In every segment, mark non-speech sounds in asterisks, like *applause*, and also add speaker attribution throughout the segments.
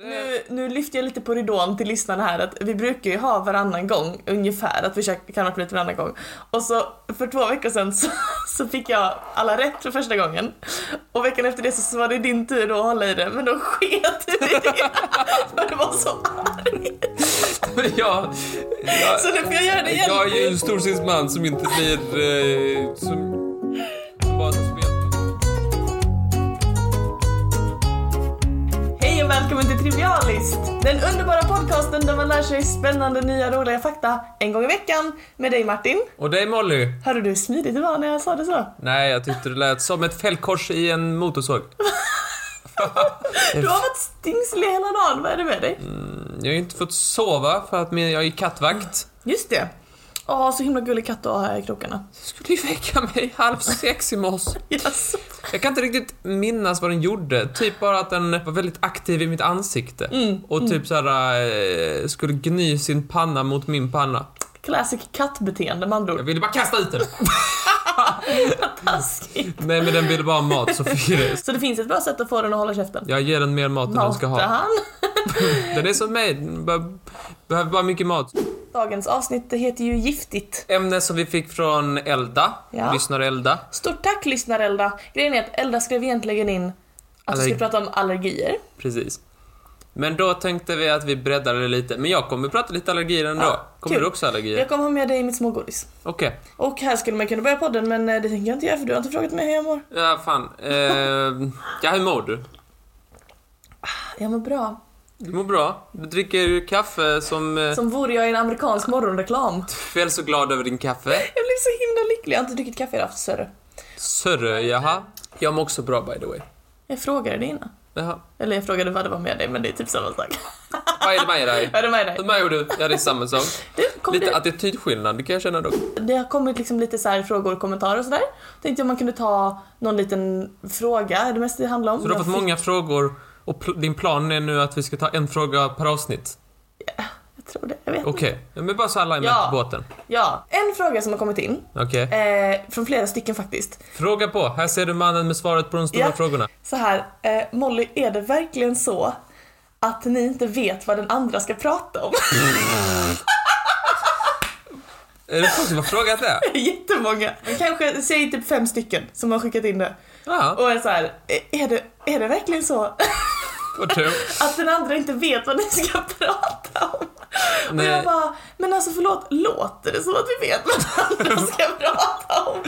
Speaker 1: Nu, nu lyfter jag lite på ridån till lyssnarna här att vi brukar ju ha varannan gång ungefär, att vi kör Kan man flyta varannan gång. Och så för två veckor sedan så, *laughs* så fick jag alla rätt för första gången. Och veckan efter det så, så var det din tur då att hålla i det, men då sket du i det. *laughs* För du var så arg.
Speaker 2: *laughs* Men jag, jag,
Speaker 1: Så nu får jag göra det igen.
Speaker 2: jag är ju en storsint man som inte blir... Eh, som, som bara tar spel.
Speaker 1: Hej och välkommen till Trivialist! Den underbara podcasten där man lär sig spännande nya roliga fakta en gång i veckan med dig Martin.
Speaker 2: Och dig Molly?
Speaker 1: Hörde du hur smidigt det var när jag sa det så?
Speaker 2: Nej, jag tyckte det lät som ett fällkors i
Speaker 1: *laughs*
Speaker 2: en motorsåg.
Speaker 1: Du har varit stingslig hela dagen, vad är det med dig?
Speaker 2: Jag har ju inte fått sova för att min, jag är kattvakt.
Speaker 1: Just det. Åh, så himla gullig katt du har här i krokarna.
Speaker 2: Du skulle ju väcka mig halv sex i morse.
Speaker 1: Yes.
Speaker 2: Jag kan inte riktigt minnas vad den gjorde. Typ bara att den var väldigt aktiv i mitt ansikte.
Speaker 1: Mm,
Speaker 2: och typ såhär, eh, skulle gny sin panna mot min panna.
Speaker 1: Classic kattbeteende med andra
Speaker 2: Jag
Speaker 1: ord.
Speaker 2: ville bara kasta ut den.
Speaker 1: Taskigt.
Speaker 2: Nej men den ville bara ha mat så fick jag det.
Speaker 1: Så det finns ett bra sätt att få den att hålla käften.
Speaker 2: Jag ger den mer mat än den ska
Speaker 1: Matar
Speaker 2: ha.
Speaker 1: han.
Speaker 2: Den är som mig, den be- behöver bara mycket mat.
Speaker 1: Dagens avsnitt heter ju Giftigt.
Speaker 2: Ämne som vi fick från Elda,
Speaker 1: Ja.
Speaker 2: lyssnare Elda.
Speaker 1: Stort tack lyssnar Elda. Grejen är att Elda skrev egentligen in att vi
Speaker 2: Allerg-
Speaker 1: skulle prata om allergier.
Speaker 2: Precis. Men då tänkte vi att vi breddade det lite. Men jag kommer prata lite allergier ändå.
Speaker 1: Ja,
Speaker 2: kommer
Speaker 1: kul.
Speaker 2: du också ha allergier?
Speaker 1: Jag kommer ha med dig i mitt smågodis.
Speaker 2: Okej.
Speaker 1: Och här skulle man kunna börja podden men eh, det tänker jag inte göra för du har inte frågat mig hur jag mår.
Speaker 2: Ja, fan. Eh, ja, hur mår du?
Speaker 1: Jag mår bra.
Speaker 2: Du mår bra. Du dricker kaffe som... Eh,
Speaker 1: Som vore jag i en amerikansk morgonreklam.
Speaker 2: väl så glad över din kaffe.
Speaker 1: Jag blev så himla lycklig. Jag har inte druckit kaffe idag, större.
Speaker 2: Sörre, jaha. Jag mår också bra by the way.
Speaker 1: Jag frågade det innan.
Speaker 2: Jaha.
Speaker 1: Eller jag frågade vad det var med dig, men det är typ samma
Speaker 2: *laughs*
Speaker 1: sak.
Speaker 2: Vad är det med dig?
Speaker 1: Vad är det med dig?
Speaker 2: Vad är du? Ja, det är samma sak.
Speaker 1: Du, kom
Speaker 2: Lite
Speaker 1: det,
Speaker 2: attitydskillnad, det kan jag känna dock.
Speaker 1: det har kommit liksom lite så här frågor och kommentarer och sådär. Tänkte jag man kunde ta någon liten fråga, är det mest det handlar om.
Speaker 2: Så du har fått många frågor och pl- din plan är nu att vi ska ta en fråga per avsnitt?
Speaker 1: Jag tror det, jag vet inte.
Speaker 2: Okej, ja, men bara så alla är med
Speaker 1: Mm. Ja.
Speaker 2: på båten.
Speaker 1: Ja, en fråga som har kommit in.
Speaker 2: Okej.
Speaker 1: Eh, från flera stycken faktiskt.
Speaker 2: Fråga på, här ser du mannen med svaret på de stora
Speaker 1: Ja.
Speaker 2: frågorna.
Speaker 1: Så här, eh, Molly, är det verkligen så att ni inte vet vad den andra ska prata om? *laughs*
Speaker 2: Är det folk som har frågat det?
Speaker 1: Jättemånga. Kanske, säg typ fem stycken som har skickat in det.
Speaker 2: Ja,
Speaker 1: *laughs* Och är så här, eh, är det, är det verkligen så
Speaker 2: och du?
Speaker 1: att den andra inte vet vad ni ska *laughs* prata om.
Speaker 2: Nej.
Speaker 1: Och jag bara, men alltså förlåt, låter det som att vi vet vad den andra *laughs* ska prata om?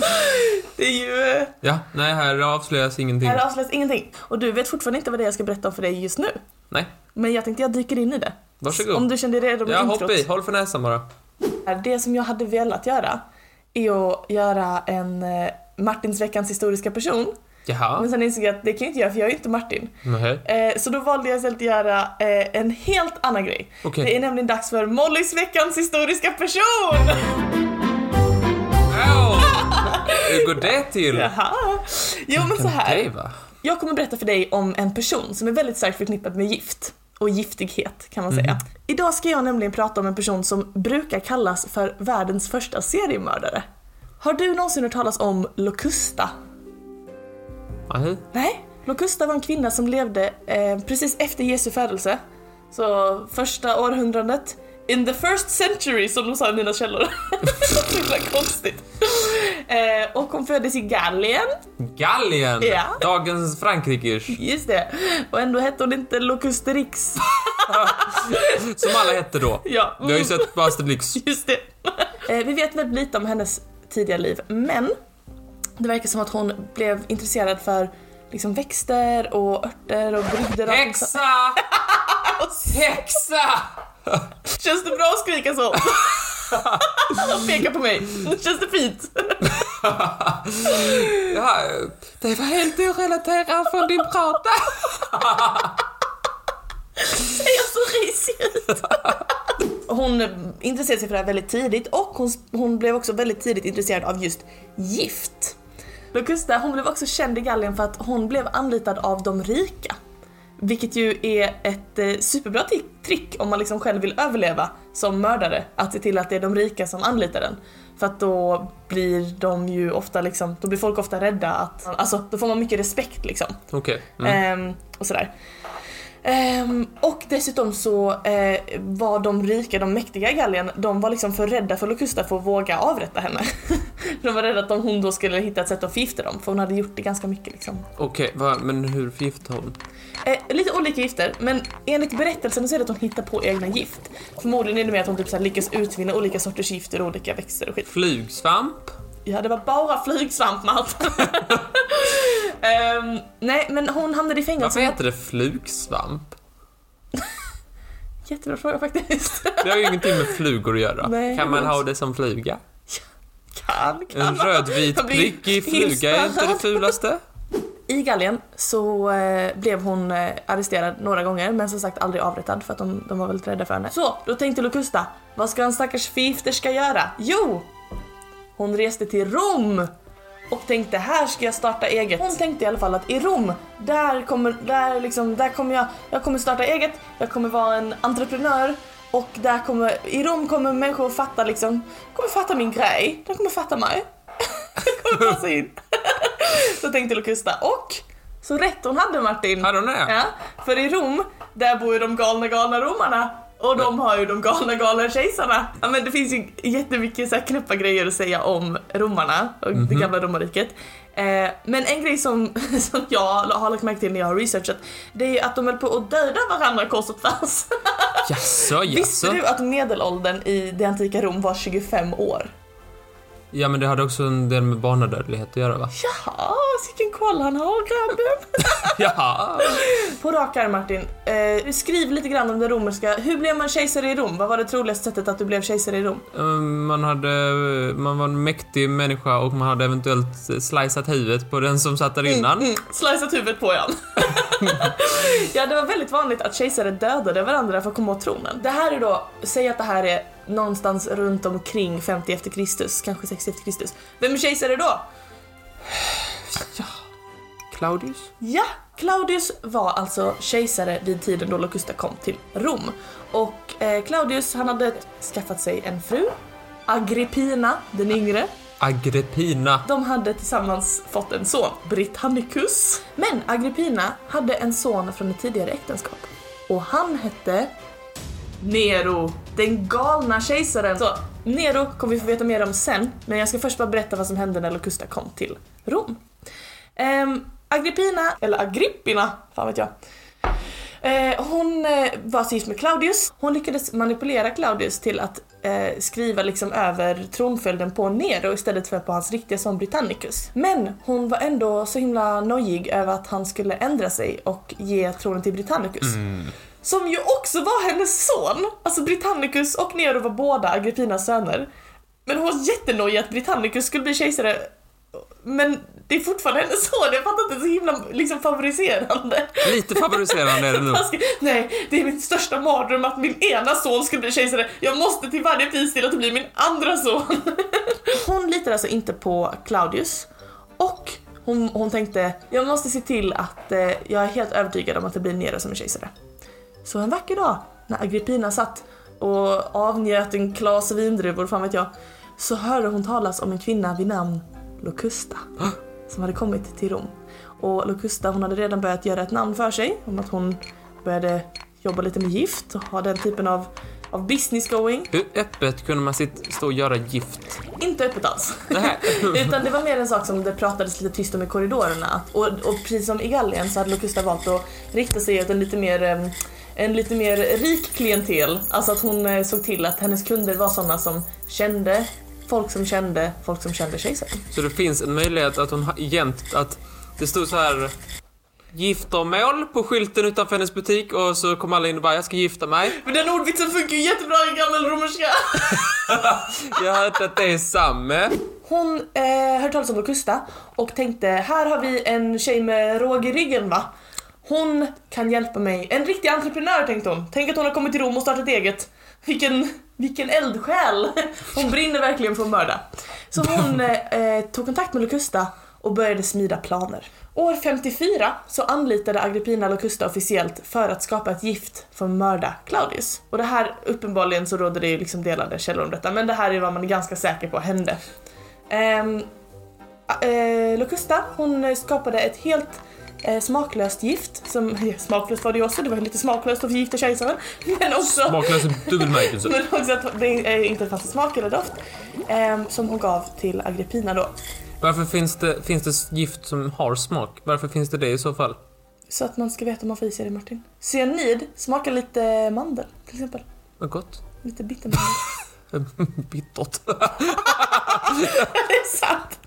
Speaker 1: Det är ju, eh,
Speaker 2: Ja, nej här avslöjas ingenting.
Speaker 1: här avslöjas ingenting. Och du vet fortfarande inte vad det är jag ska berätta om för dig just nu.
Speaker 2: Nej,
Speaker 1: Men jag tänkte jag dyker in i det.
Speaker 2: Varsågod.
Speaker 1: Om du kände dig redo med
Speaker 2: ja,
Speaker 1: introt.
Speaker 2: hopp i, håll för näsan bara.
Speaker 1: Det som jag hade velat göra är att göra en eh, Martins veckans historiska person. Men
Speaker 2: Jaha, Mm,
Speaker 1: sen insåg jag att det kan jag inte göra för jag är ju inte Martin.
Speaker 2: nej.
Speaker 1: *laughs* Eh, Så då valde jag istället att göra eh, en helt annan grej.
Speaker 2: Okej.
Speaker 1: Det är nämligen dags för Mollys veckans historiska person!
Speaker 2: Au! Hur går det till?
Speaker 1: Jaha. Jo men så
Speaker 2: Det
Speaker 1: här.
Speaker 2: va?
Speaker 1: Jag kommer berätta för dig om en person som är väldigt starkt förknippad med gift och giftighet kan man säga. Idag ska jag nämligen prata om en person som brukar kallas för världens första seriemördare. Har du någonsin hört talas om Locusta?
Speaker 2: Nej.
Speaker 1: Nej, Locusta var en kvinna som levde eh, precis efter Jesu födelse. Så första århundradet. In the first century som de sa i mina källor. *laughs* Så himla konstigt. Eh, och hon föddes i Gallien.
Speaker 2: Gallien!
Speaker 1: Ja.
Speaker 2: Dagens Frankrikers.
Speaker 1: Just det. Och ändå hette hon inte Locusterix.
Speaker 2: Som alla hette då. *laughs*
Speaker 1: Ja. mm,
Speaker 2: Du har ju sett på Asterix.
Speaker 1: Just det. Eh, vi vet väldigt lite om hennes tidiga liv, men det verkar som att hon blev intresserad för liksom växter och örter och brygder. och-
Speaker 2: Häxa! Häxa!
Speaker 1: Känns det bra att skrika så? Och peka på mig. Känns det fint?
Speaker 2: Ja, det var helt orelaterat från din prata.
Speaker 1: Jag är så risig ut. *laughs* Hon intresserade sig för det här väldigt tidigt och hon, hon blev också väldigt tidigt intresserad av just gift. Locusta hon blev också känd i Gallien för att hon blev anlitad av de rika. Vilket ju är ett eh, superbra ti- trick om man liksom själv vill överleva som mördare. Att se till att det är de rika som anlitar den. För att då blir de ju ofta liksom, då blir folk ofta rädda att, alltså då får man mycket respekt liksom.
Speaker 2: Okej. Mm.
Speaker 1: Ehm, och sådär. Ehm, och dessutom så eh, var de rika, de mäktiga i Gallien, de var liksom för rädda för Locusta för att våga avrätta henne. *laughs* de var rädda att de, hon då skulle hitta ett sätt att förgifta dem, för hon hade gjort det ganska mycket liksom.
Speaker 2: Okej, va- men hur förgiftade hon?
Speaker 1: Eh, lite olika gifter, men enligt berättelsen så är det att hon hittar på egna gift. Förmodligen är det mer att hon typ så här lyckas utvinna olika sorters gifter och olika växter och skit.
Speaker 2: Flugsvamp?
Speaker 1: Ja, det var bara flugsvamp Marta.
Speaker 2: *laughs*
Speaker 1: Ehm, nej, men hon hamnade i fängelse.
Speaker 2: Varför heter det flugsvamp?
Speaker 1: Jättebra fråga faktiskt. *laughs*
Speaker 2: Det har ju ingenting med flugor att göra.
Speaker 1: Nej,
Speaker 2: kan man
Speaker 1: jag vet.
Speaker 2: ha det som fluga?
Speaker 1: kan, kan.
Speaker 2: En rödvit
Speaker 1: Jag blir
Speaker 2: prickig fluga är inte det
Speaker 1: inspirerad.
Speaker 2: fulaste.
Speaker 1: I Gallien så eh, blev hon eh, arresterad några gånger men som sagt aldrig avrättad för att de, de var väldigt rädda för henne. Så, då tänkte Locusta, vad ska en stackars förgifterska göra? Jo! Hon reste till Rom och tänkte här ska jag starta eget. Hon tänkte i alla fall att i Rom, där kommer, där liksom, där kommer jag, jag kommer starta eget, jag kommer vara en entreprenör och där kommer, i Rom kommer människor fatta liksom, kommer fatta min grej, de kommer fatta mig. *laughs* Jag kommer passa in. *laughs* Så tänkte Locusta och så rätt hon hade Martin.
Speaker 2: Här hon är.
Speaker 1: Ja, för i Rom, där bor ju de galna galna romarna. Och de har ju de galna galna kejsarna. Ja, men det finns ju jättemycket så här knäppa grejer att säga om romarna och det gamla romarriket. Eh, men en grej som, *laughs* som jag har lagt märke till när jag har researchat, det är ju att de höll på att döda varandra kors och tvärs. *laughs*
Speaker 2: Jaså,
Speaker 1: Visste
Speaker 2: jaså.
Speaker 1: du att medelåldern i det antika Rom var 25 år?
Speaker 2: Ja, men det hade också en del med barnadödlighet att göra va?
Speaker 1: Jaha, vilken koll han har grabben.
Speaker 2: Jaha.
Speaker 1: På rak arm Martin, eh, skriv lite grann om det romerska. Hur blev man kejsare i Rom? Vad var det troligaste sättet att du blev kejsare i Rom?
Speaker 2: Um, Man, hade, man var en mäktig människa och man hade eventuellt slicat huvudet på den som satt där innan.
Speaker 1: Mm, slicat huvudet på igen. *laughs* ja, det var väldigt vanligt att kejsare dödade varandra för att komma åt tronen. Det här är då, säg att det här är någonstans runt omkring 50 efter Kristus, kanske 60 efter Kristus. Vem är kejsare då?
Speaker 2: Claudius?
Speaker 1: Ja, Claudius var alltså kejsare vid tiden då Locusta kom till Rom. Och eh, Claudius, han hade skaffat sig en fru, Agrippina den yngre.
Speaker 2: Agrippina.
Speaker 1: De hade tillsammans fått en son, Britannicus. Men Agrippina hade en son från ett tidigare äktenskap. Och han hette Nero, den galna kejsaren. Så, Nero kommer vi få veta mer om sen, men jag ska först bara berätta vad som hände när Locusta kom till Rom. Ehm, Agrippina, eller Agrippina, fan vet jag. Eh, hon eh, var så gift med Claudius. Hon lyckades manipulera Claudius till att eh, skriva liksom över tronföljden på Nero istället för på hans riktiga son Britannicus. Men hon var ändå så himla nojig över att han skulle ändra sig och ge tronen till Britannicus. Som ju också var hennes son! Alltså Britannicus och Nero var båda Agrippinas söner. Men hon var jättenojig att Britannicus skulle bli kejsare men det är fortfarande hennes son, jag fattar inte, det är så himla liksom, favoriserande.
Speaker 2: Lite favoriserande är det nog.
Speaker 1: Han skrev, Nej, det är min största mardröm att min ena son skulle bli kejsare. Jag måste till varje pris till att det blir min andra son. *laughs* Hon litar alltså inte på Claudius och hon, hon tänkte jag måste se till att eh, jag är helt övertygad om att det blir Nero som är kejsare. Så en vacker dag när Agrippina satt och avnjöt en klas vindruvor, fan vet jag, så hörde hon talas om en kvinna vid namn Locusta som hade kommit till Rom. Och Locusta hon hade redan börjat göra ett namn för sig, om att hon började jobba lite med gift och ha den typen av, av business going.
Speaker 2: Hur öppet kunde man sitt, stå och göra gift?
Speaker 1: Inte öppet alls.
Speaker 2: Nej.
Speaker 1: *laughs* Utan det var mer en sak som det pratades lite tyst om i korridorerna. Att- Och, och precis som i Gallien så hade Locusta valt att rikta sig åt en lite mer em, en lite mer rik klientel. Alltså att hon eh, såg till att hennes kunder var sådana som kände folk som kände folk som kände kejsaren.
Speaker 2: Så det finns en möjlighet att hon har egent, att det stod så här giftermål på skylten utanför hennes butik och så kom alla in och bara jag ska gifta mig.
Speaker 1: Men den ordvitsen funkar ju jättebra i gammelromerska.
Speaker 2: Jag har hört att det är samma.
Speaker 1: Hon eh, hörde talas om Locusta och tänkte här har vi en tjej med råg i ryggen va. Hon kan hjälpa mig. En riktig entreprenör tänkte hon. Tänk att hon har kommit till Rom och startat eget. Vilken, vilken eldsjäl! Hon brinner verkligen för att mörda. Så hon eh, eh, tog kontakt med Locusta och började smida planer. År 54 så anlitade Agrippina Locusta officiellt för att skapa ett gift för att mörda Claudius. Och det här, uppenbarligen så råder det ju liksom delade källor om detta, men det här är vad man är ganska säker på hände. Ehm, eh, Locusta, hon skapade ett helt eh, smaklöst gift. Som, *laughs* ja, smaklöst var det ju också, det var lite smaklöst att förgifta kejsaren. *laughs* Men också...
Speaker 2: Smaklös dubbelmärkelse.
Speaker 1: Men också att det eh, inte fanns smak eller doft. Eh, som hon gav till Agrippina då.
Speaker 2: Varför finns det, finns det gift som har smak? Varför finns det det i så fall?
Speaker 1: Så att man ska veta om man får i sig det Martin. Cyanid smakar lite mandel till exempel.
Speaker 2: Vad gott. *laughs*
Speaker 1: Lite bittermandel.
Speaker 2: Bittert.
Speaker 1: *laughs* det är sant.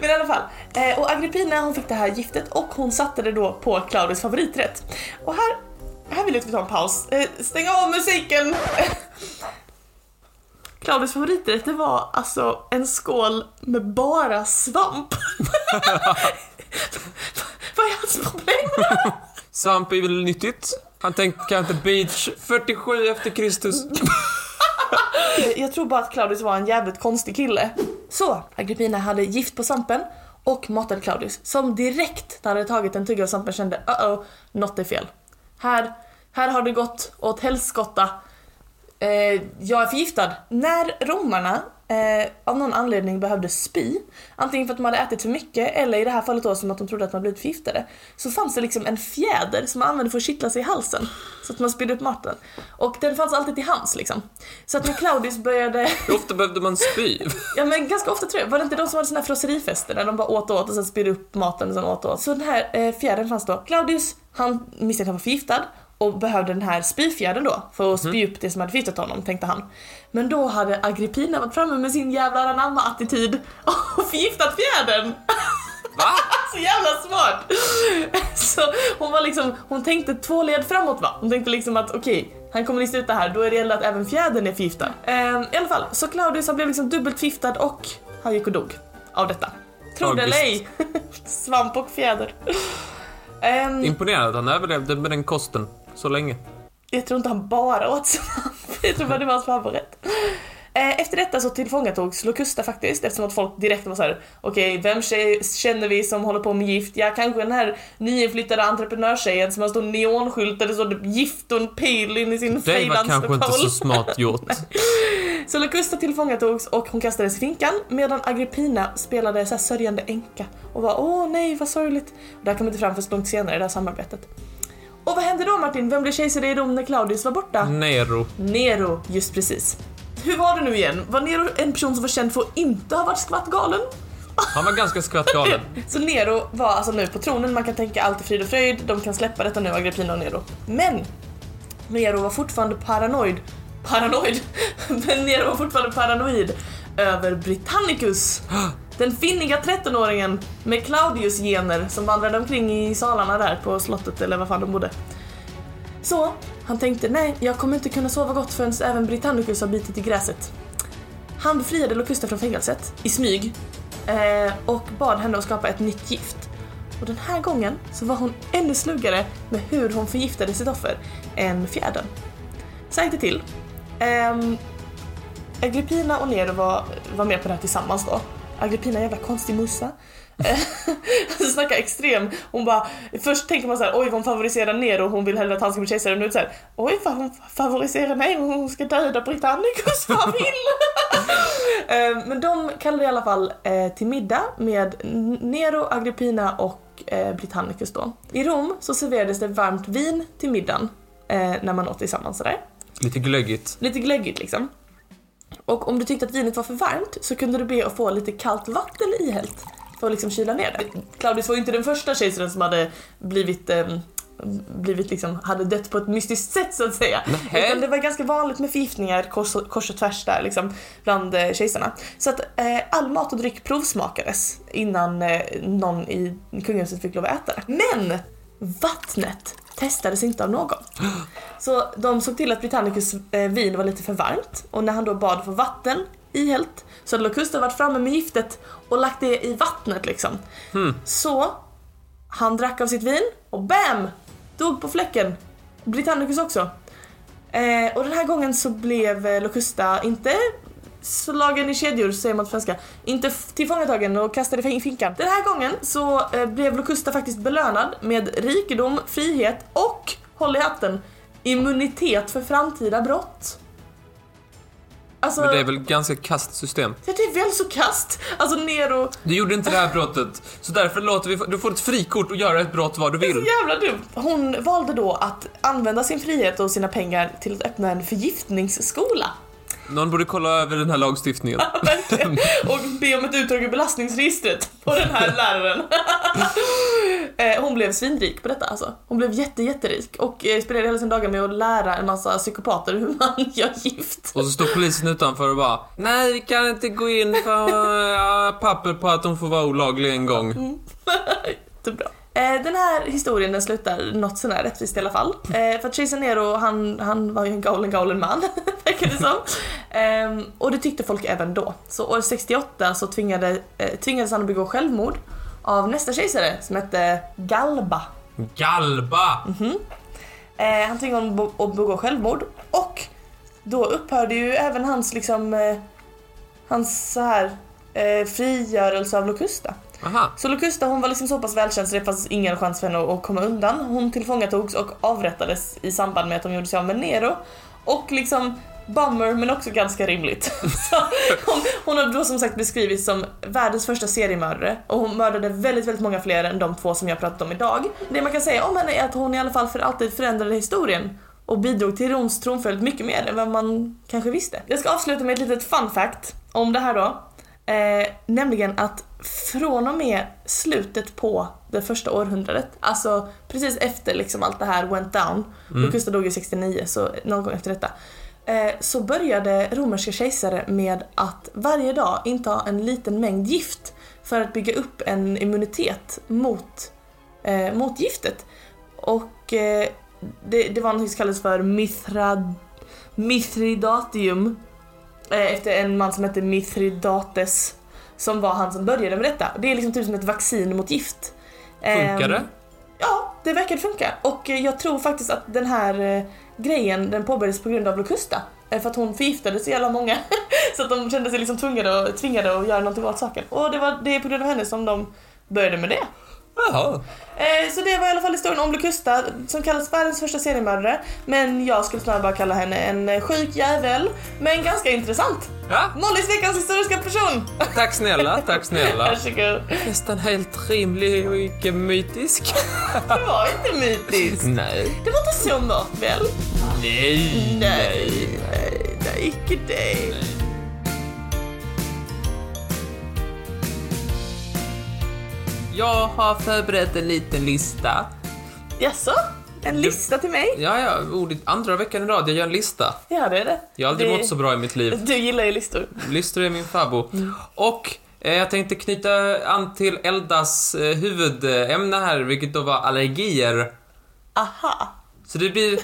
Speaker 1: Men i alla fall. Eh, och Agrippina hon fick det här giftet och hon satte det då på Claudius favoriträtt. Och här, här vill jag att vi tar en paus. Eh, stäng av musiken! *laughs* Claudius favoriträtt det var alltså en skål med bara svamp. *laughs* Vad är hans problem?
Speaker 2: Svamp är väl nyttigt? Han tänkte kanske Beach 47 efter Kristus.
Speaker 1: Alltså, Jag tror bara att Claudius var en jävligt konstig kille. Så, Agrippina hade gift på svampen och matade Claudius som direkt när han hade tagit en tugga av svampen kände uh-oh, något är fel. Här, här har det gått åt helskotta. Eh, jag är förgiftad. När romarna eh, av någon anledning behövde spy, antingen för att de hade ätit för mycket eller i det här fallet då som att de trodde att man blivit förgiftade, så fanns det liksom en fjäder som man använde för att kittla sig i halsen så att man spydde upp maten. Och den fanns alltid till hands liksom. Så att när Claudius började,
Speaker 2: Hur ofta behövde man spy?
Speaker 1: ja men ganska ofta tror jag, var det inte de som hade sina frosserifester där de bara åt och åt och sen spydde upp maten och sen åt och åt? Så den här eh, fjädern fanns då. Claudius, han misstänkte att han var förgiftad och behövde den här spyfjädern då för att spy upp det som hade förgiftat honom, tänkte han. Men då hade Agrippina varit framme med sin jävla anamma-attityd och förgiftat fjädern!
Speaker 2: Va?
Speaker 1: Så jävla smart! *laughs* Så hon var liksom, hon tänkte två led framåt va? Hon tänkte liksom att okej, han kommer lista ut det här, då är det gällande att även fjädern är förgiftad. Ehm, I alla fall, så Claudius han blev liksom dubbelt förgiftad och han gick och dog av detta. Tro det eller ej! *laughs* Svamp och fjäder. Ehm,
Speaker 2: Imponerande att han överlevde med den kosten så länge.
Speaker 1: jag tror inte han bara åt svamp, jag tror bara det var hans favorit. Ehm, Efter detta så tillfångatogs Locusta faktiskt eftersom att folk direkt var såhär Okej, vem tjej känner vi som håller på med gift? Ja, kanske den här nyinflyttade entreprenörstjejen som har stor neonskylt där det står typ gift och en pil in i sin
Speaker 2: Det var kanske inte
Speaker 1: frilanslokal."
Speaker 2: så smart gjort.
Speaker 1: Så Locusta tillfångatogs och hon kastades i finkan medan Agrippina spelade så här sörjande änka och var åh nej vad sorgligt. Och det här kom inte fram förrän långt senare i det här samarbetet. Och vad hände då Martin? Vem blev kejsare i Rom när Claudius var borta?
Speaker 2: Nero.
Speaker 1: Nero, just precis. Hur var det nu igen? Var Nero en person som var känd för att inte ha varit skvattgalen?
Speaker 2: Han var ganska skvattgalen.
Speaker 1: Så Nero var alltså nu på tronen, man kan tänka allt är frid och fröjd, de kan släppa detta nu, Agrippina och Nero. Men! Nero var fortfarande paranoid. Paranoid? *laughs* Men Nero var fortfarande paranoid över Britannicus. Den finniga 13-åringen med Claudius gener som vandrade omkring i salarna där på slottet eller vad fan de bodde. Så han tänkte, nej jag kommer inte kunna sova gott förrän även Britannicus har bitit i gräset. Han befriade Locusta från fängelset i smyg eh, och bad henne att skapa ett nytt gift. Och den här gången så var hon ännu slugare med hur hon förgiftade sitt offer än fjädern. Säg det till. Ehm, Agrippina och Nero var, var med på det här tillsammans då. Agrippina är en jävla konstig mussa. *laughs* Alltså snacka extrem. Hon bara, först tänker man så här, oj vad hon favoriserar Nero, hon vill hellre att han ska bli kejsare. Nu är det så här, oj vad hon favoriserar mig, hon ska döda Britannicus familj. Eh, Men de kallade i alla fall eh, till middag med N- Nero, Agrippina och eh, Britannicus då. I Rom så serverades det varmt vin till middagen eh, när man åt tillsammans sådär.
Speaker 2: Lite glöggigt.
Speaker 1: Lite glöggigt liksom. Och om du tyckte att vinet var för varmt så kunde du be att få lite kallt vatten ihällt för att liksom kyla ner det. Claudius var ju inte den första kejsaren som hade blivit ehm, blivit liksom, hade dött på ett mystiskt sätt så att säga.
Speaker 2: Nähä.
Speaker 1: Utan det var ganska vanligt med förgiftningar kors och, kors och tvärs där liksom bland eh, kejsarna. Så att eh, all mat och dryck provsmakades innan eh, någon i kungahuset fick lov att äta det. Men vattnet testades inte av någon. Så de såg till att Britannicus eh, vin var lite för varmt och när han då bad för vatten ihält så hade Locusta varit framme med giftet och lagt det i vattnet liksom. Så han drack av sitt vin och BAM! Dog på fläcken. Britannicus också. Eh, och den här gången så blev eh, Locusta inte slagen i kedjor säger man på svenska. Inte f- tillfångatagen och kastad i fin- finkan. Den här gången så eh, blev Locusta faktiskt belönad med rikedom, frihet och, håll i hatten, immunitet för framtida brott. Alltså,
Speaker 2: Men det är väl ganska kasst system.
Speaker 1: Ja, det är väl så kast. Alltså Nero,
Speaker 2: Du gjorde inte det här brottet, så därför låter vi... Du får ett frikort och göra ett brott vad du
Speaker 1: det är så
Speaker 2: vill.
Speaker 1: jävla dumt. Hon valde då att använda sin frihet och sina pengar till att öppna en förgiftningsskola.
Speaker 2: Någon borde kolla över den här lagstiftningen.
Speaker 1: Verkligen. och be om ett utdrag ur belastningsregistret på den *laughs* här läraren. Eh, Hon blev svinrik på detta alltså. Hon blev jätte, jätterik och eh, spenderade hela sina dagar med att lära en massa psykopater hur man *laughs* gör gift.
Speaker 2: Och så står polisen utanför och bara Nej, vi kan inte gå in för ja, papper på att de får vara olaglig en gång.
Speaker 1: Jättebra. Eh, Den här historien den slutar något sånär rättvist i alla fall. Eh, För att Jason Nero, han, han var ju en galen galen man, *laughs* verkar det som. Ehm, Och det tyckte folk även då. Så år 68 så tvingade, eh, tvingades han att begå självmord av nästa kejsare som hette Galba.
Speaker 2: Galba!
Speaker 1: Eh, han tvingade honom bo- att begå självmord och då upphörde ju även hans liksom eh, hans så här eh, frigörelse av Locusta.
Speaker 2: Aha.
Speaker 1: Så Locusta hon var liksom så pass välkänd så det fanns ingen chans för henne att- att komma undan. Hon tillfångatogs och avrättades i samband med att de gjorde sig av med Nero. Och liksom bummer men också ganska rimligt. *laughs* så hon, hon har då som sagt beskrivits som världens första seriemördare och hon mördade väldigt, väldigt många fler än de två som jag pratat om idag. Det man kan säga om henne är att hon i alla fall för alltid förändrade historien och bidrog till Roms tronföljd mycket mer än vad man kanske visste. Jag ska avsluta med ett litet fun fact om det här då. Eh, nämligen att från och med slutet på det första århundradet, alltså precis efter liksom allt det här went down, och Gustav dog ju 69 så någon gång efter detta, eh, så började romerska kejsare med att varje dag inta en liten mängd gift för att bygga upp en immunitet mot, eh, mot giftet. Och eh, det, det var något som kallades för mithrad, mithridatium eh, efter en man som hette Mithridates som var han som började med detta. Det är liksom typ som ett vaccin mot gift.
Speaker 2: Funkar
Speaker 1: Ehm,
Speaker 2: det?
Speaker 1: Ja, det verkade funka. Och eh, jag tror faktiskt att den här eh, grejen den påbörjades på grund av Locusta. Eh, För att hon förgiftade så jävla många. *laughs* så att de kände sig liksom tvungade, och, tvingade att göra någonting åt saken. Och det, var, det är på grund av henne som de började med det.
Speaker 2: Jaha.
Speaker 1: Eh, så det var i alla fall historien om Locusta som kallas världens första seriemördare. Men jag skulle snarare bara kalla henne en eh, sjuk jävel. Men ganska intressant.
Speaker 2: Ja,
Speaker 1: Mollys veckans historiska
Speaker 2: *laughs*
Speaker 1: person!
Speaker 2: tack snälla, tack snälla.
Speaker 1: Varsågod.
Speaker 2: *laughs* Nästan helt rimlig och icke mytisk.
Speaker 1: Det var inte mytiskt.
Speaker 2: Nej.
Speaker 1: Det var inte så mörkt väl?
Speaker 2: Nej.
Speaker 1: Nej, nej, nej, icke det.
Speaker 2: Jag har förberett en liten lista.
Speaker 1: Jaså? En lista till mig?
Speaker 2: Ja, ja, ordet andra veckan i rad jag gör en lista.
Speaker 1: Ja, det är det.
Speaker 2: Jag har aldrig
Speaker 1: det...
Speaker 2: mått så bra i mitt liv.
Speaker 1: Du gillar ju listor.
Speaker 2: Listor är min favvo. Och eh, jag tänkte knyta an till Eldas eh, huvudämne här, vilket då var allergier.
Speaker 1: Aha.
Speaker 2: Så det blir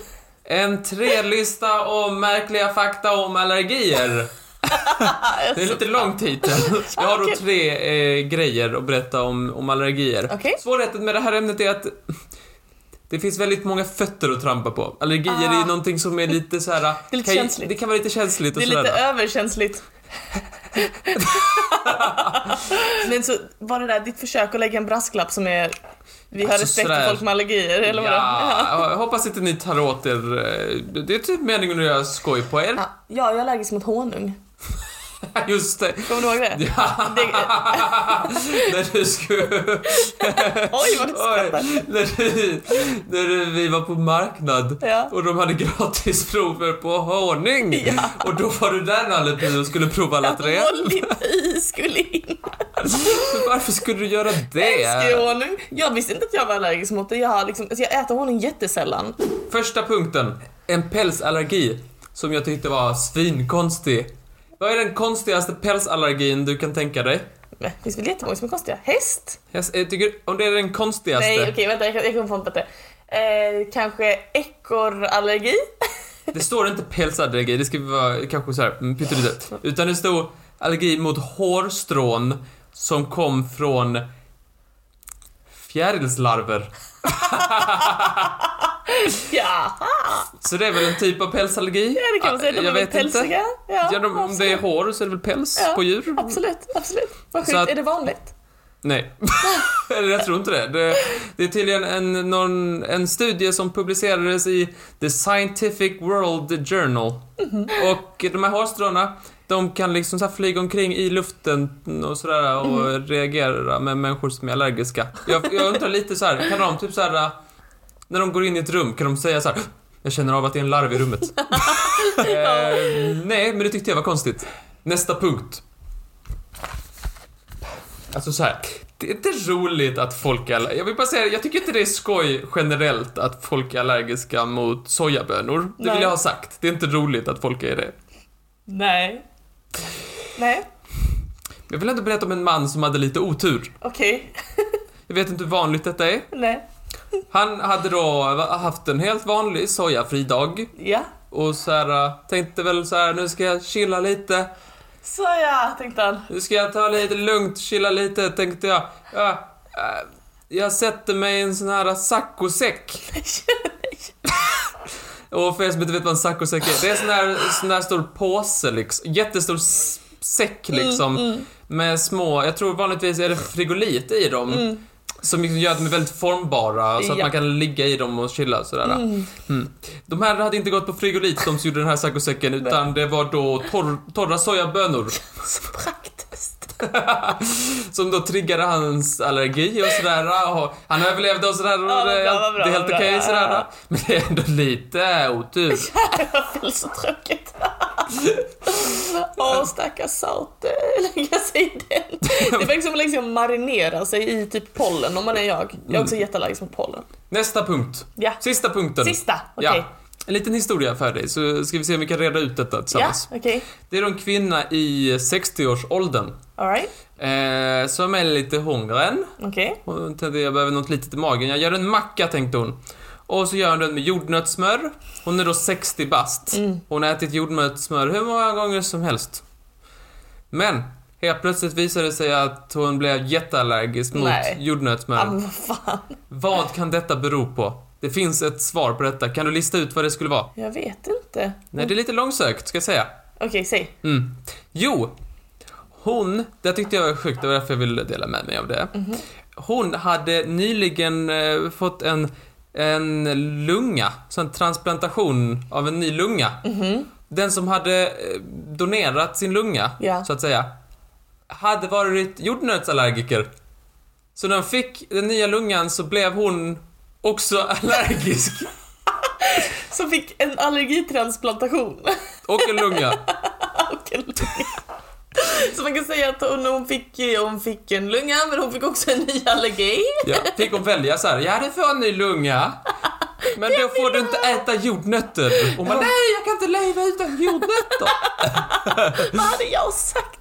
Speaker 2: en trelista om märkliga fakta
Speaker 1: *laughs*
Speaker 2: om allergier. Det är
Speaker 1: Alltså,
Speaker 2: lite lång titel. Jag har då tre eh, grejer att berätta om, om allergier.
Speaker 1: Okej.
Speaker 2: Svårigheten med det här ämnet är att det finns väldigt många fötter att trampa på. Allergier är ju
Speaker 1: Ah.
Speaker 2: någonting som är lite så här.
Speaker 1: Det är lite
Speaker 2: kan ju-
Speaker 1: känsligt.
Speaker 2: Det kan vara lite känsligt och
Speaker 1: det är
Speaker 2: sådär.
Speaker 1: lite överkänsligt.
Speaker 2: *laughs*
Speaker 1: Men så var det där ditt försök att lägga en brasklapp som är vi har
Speaker 2: Alltså,
Speaker 1: respekt
Speaker 2: sådär.
Speaker 1: för folk med allergier eller vadå?
Speaker 2: Ja, jag hoppas inte ni tar åt er. eh, Det är typ meningen att göra skoj på er.
Speaker 1: Ja, jag är allergisk mot honung.
Speaker 2: *laughs* Just det.
Speaker 1: Kommer du ihåg det?
Speaker 2: Ja.
Speaker 1: Det-
Speaker 2: när du skulle...
Speaker 1: Oj vad du
Speaker 2: Oj,
Speaker 1: skrattar.
Speaker 2: när, du, när du, vi var på marknad
Speaker 1: Ja.
Speaker 2: och de hade gratis prover på honung.
Speaker 1: Ja.
Speaker 2: Och då var du där Nalle Puh, och skulle prova alla tre.
Speaker 1: Molly Py skulle in.
Speaker 2: Men Varför skulle du göra
Speaker 1: Älskar
Speaker 2: det?
Speaker 1: honung. Jag visste inte att jag var allergisk mot det. Jag, har liksom, alltså jag äter honung jättesällan.
Speaker 2: Första punkten. En pälsallergi som jag tyckte var svinkonstig. Vad är den konstigaste pälsallergin du kan tänka dig?
Speaker 1: Men Det finns väl jättemånga som är konstiga. Häst?
Speaker 2: Jag jag tycker, om det är den konstigaste.
Speaker 1: Nej okej vänta jag, kan- jag kommer på en bättre. Eh, kanske ekorrallergi? *laughs*
Speaker 2: Det står inte pälsallergi, det ska vara kanske så här mm, pyttelite. Utan det stod allergi mot hårstrån som kom från fjärilslarver.
Speaker 1: ja,
Speaker 2: Så det är väl en typ av pälsallergi? Ah,
Speaker 1: det kan man säga. De
Speaker 2: jag
Speaker 1: är väl
Speaker 2: vet inte.
Speaker 1: pälsiga. Ja,
Speaker 2: Ja, de, om det är hår så är det väl päls
Speaker 1: Ja,
Speaker 2: på djur?
Speaker 1: Absolut, absolut. Vad
Speaker 2: Så
Speaker 1: sjukt.
Speaker 2: att-
Speaker 1: Är det vanligt?
Speaker 2: Nej. *laughs* Eller jag tror inte det. Det, det är tydligen en, någon, en studie som publicerades i The Scientific World Journal.
Speaker 1: Mhm.
Speaker 2: Och de här hårstråna, de kan liksom så här flyga omkring i luften och sådär och reagera med människor som är allergiska. Jag, jag undrar lite så här, kan de typ så här när de går in i ett rum, kan de säga så här jag känner av att det är en larv i rummet. eh, nej, men det tyckte jag var konstigt. Nästa punkt. Alltså så här. Det är inte roligt att folk är Jag vill bara säga jag tycker inte det är skoj generellt att folk är allergiska mot sojabönor. Det
Speaker 1: Nej.
Speaker 2: vill jag ha sagt. Det är inte roligt att folk är det.
Speaker 1: Nej. Nej,
Speaker 2: Men Jag vill ändå berätta om en man som hade lite otur.
Speaker 1: okej.
Speaker 2: Jag vet inte hur vanligt detta är.
Speaker 1: Nej.
Speaker 2: Han hade då haft en helt vanlig sojafri dag
Speaker 1: Ja.
Speaker 2: och så här, äh, tänkte väl så här, nu ska jag chilla lite.
Speaker 1: Så ja, tänkte han.
Speaker 2: Nu ska jag ta lite lugnt, chilla lite, tänkte jag. Jag, äh, jag sätter mig i en sån här saccosäck. *laughs* Och för er som inte vet vad en saccosäck är, det är en sån här, sån här stor påse liksom. Jättestor s- säck liksom. Med små, jag tror vanligtvis är det frigolit i dem.
Speaker 1: Mm.
Speaker 2: Som liksom gör att de är väldigt formbara, så att
Speaker 1: Ja.
Speaker 2: man kan ligga i dem och chilla sådär. Mm. De här hade inte gått på frigolit de som gjorde den här saccosäcken, utan det var då torr, torra sojabönor.
Speaker 1: Så praktiskt.
Speaker 2: Som då triggade hans allergi och sådär. Och han överlevde och sådär. Och
Speaker 1: Ja, vad
Speaker 2: det,
Speaker 1: bra, vad bra,
Speaker 2: det är helt
Speaker 1: vad bra.
Speaker 2: okej sådär.
Speaker 1: Ja.
Speaker 2: Men det är ändå lite otur.
Speaker 1: *laughs* Jag vill så *laughs* tråkigt. Åh, stackars Saute. Lägga sig i den. Det verkar som att liksom marinera sig i typ pollen om man är jag. Jag är också
Speaker 2: Mm.
Speaker 1: jätteallergisk mot pollen.
Speaker 2: Nästa punkt.
Speaker 1: Ja.
Speaker 2: Sista punkten.
Speaker 1: Sista, okej.
Speaker 2: Ja. En liten historia för dig, så ska vi se om vi kan reda ut detta
Speaker 1: Ja,
Speaker 2: tillsammans.
Speaker 1: okej.
Speaker 2: Det är då en kvinna i 60-årsåldern
Speaker 1: Alright.
Speaker 2: eh, som är lite hungrig.
Speaker 1: Okej.
Speaker 2: Hon tänkte jag behöver något litet i magen. Jag gör en macka, tänkte hon. Och så gör hon den med jordnötssmör. Hon är då 60 bast. Hon har ätit jordnötssmör hur många gånger som helst. Men, helt plötsligt visade det sig att hon blev jätteallergisk mot
Speaker 1: Nej.
Speaker 2: jordnötssmör.
Speaker 1: Ja, Ah, men vad fan.
Speaker 2: Vad kan detta bero på? Det finns ett svar på detta. Kan du lista ut vad det skulle vara?
Speaker 1: Jag vet inte.
Speaker 2: Nej, det är lite långsökt, ska jag säga.
Speaker 1: Okej, säg.
Speaker 2: Mm. Jo, hon, det tyckte jag var sjukt, det var därför jag ville dela med mig av det. Hon hade nyligen eh, fått en, en lunga, så en transplantation av en ny lunga. Den som hade eh, donerat sin lunga,
Speaker 1: Ja.
Speaker 2: så att säga, hade varit jordnötsallergiker. Så när hon fick den nya lungan så blev hon också *laughs* allergisk.
Speaker 1: Som fick en allergitransplantation. *laughs*
Speaker 2: Och en lunga.
Speaker 1: Och en lunga. Så man kan säga att hon, hon, fick, hon fick en lunga men hon fick också en ny *laughs* allergi.
Speaker 2: Ja, fick hon välja så här, ja du får en ny lunga. Men då får du inte äta jordnötter. Och man, nej jag kan inte leva utan jordnötter. *laughs*
Speaker 1: Vad hade jag sagt?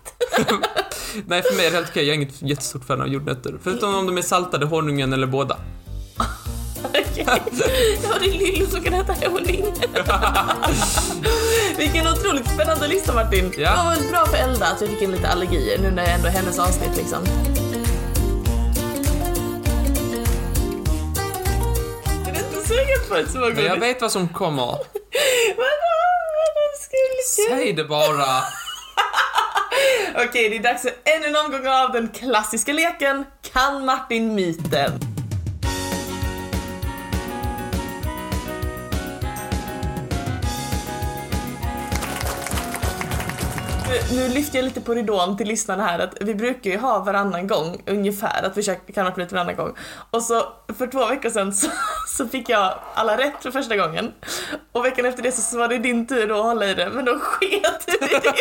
Speaker 2: nej för mig är det helt okej, jag är inget jättestort fan av jordnötter. Förutom om de är saltade, honungen eller båda.
Speaker 1: Okej. Ja, det är Lillo som kan äta *laughs* honung. Vilken otroligt spännande lista Martin.
Speaker 2: Ja.
Speaker 1: Det var väl bra för Elda att jag fick in lite allergier nu när det ändå är hennes avsnitt liksom. Jag är inte sugen på ett
Speaker 2: Men jag
Speaker 1: smågodis.
Speaker 2: vet vad som kommer.
Speaker 1: Vadå? Vadå skulle
Speaker 2: Säg det bara. *laughs*
Speaker 1: jag? Okej, det är dags för ännu en omgång av den klassiska leken Kan Martin myten? Nu- Nu lyfter jag lite på ridån till lyssnarna här att vi brukar ju ha varannan gång ungefär, att vi kör kan upp lite varannan gång. Och så för två veckor sedan så, *laughs* så fick jag alla rätt för första gången. Och veckan efter det så, så var det din tur då att hålla i det, men då sket du i det. *laughs*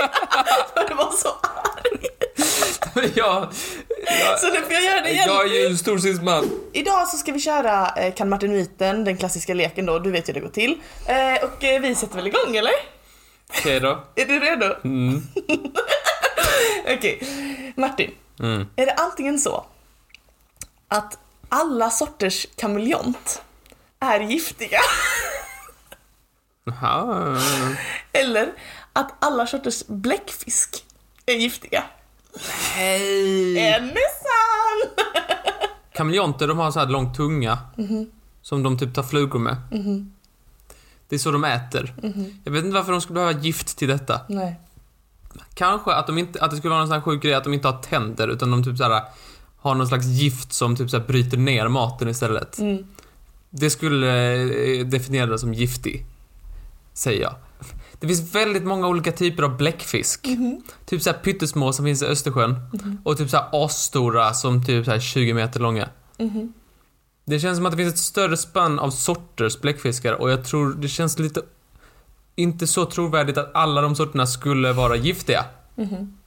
Speaker 1: För du var så arg.
Speaker 2: jag, jag,
Speaker 1: Så nu får jag göra det igen.
Speaker 2: jag är ju en storsinnsman.
Speaker 1: Idag så ska vi köra eh, Kan Martin myten, den klassiska leken då, du vet hur det går till. Eh, och eh, vi sätter väl igång eller?
Speaker 2: Okej då.
Speaker 1: Är du redo?
Speaker 2: Mm.
Speaker 1: *laughs* Okej, Martin.
Speaker 2: Mm.
Speaker 1: Är det antingen så att alla sorters kameleont är giftiga *laughs*
Speaker 2: Jaha.
Speaker 1: eller att alla sorters bläckfisk är giftiga?
Speaker 2: Hej.
Speaker 1: En är sann!
Speaker 2: Kameleonter, de har så här lång tunga. Som de typ tar flugor med. Det är så de äter. Jag vet inte varför de skulle behöva gift till detta.
Speaker 1: Nej.
Speaker 2: Kanske att, de inte, att det skulle vara någon sån här sjuk grej att de inte har tänder utan de typ så här har någon slags gift som typ så här bryter ner maten istället.
Speaker 1: Mm.
Speaker 2: Det skulle eh, definieras som giftig, säger jag. Det finns väldigt många olika typer av bläckfisk. Typ så här pyttesmå som finns i Östersjön och typ så här asstora som typ så här 20 meter långa.
Speaker 1: Mhm.
Speaker 2: Det känns som att det finns ett större spann av sorters bläckfiskar och jag tror det känns lite inte så trovärdigt att alla de sorterna skulle vara giftiga.
Speaker 1: Mhm.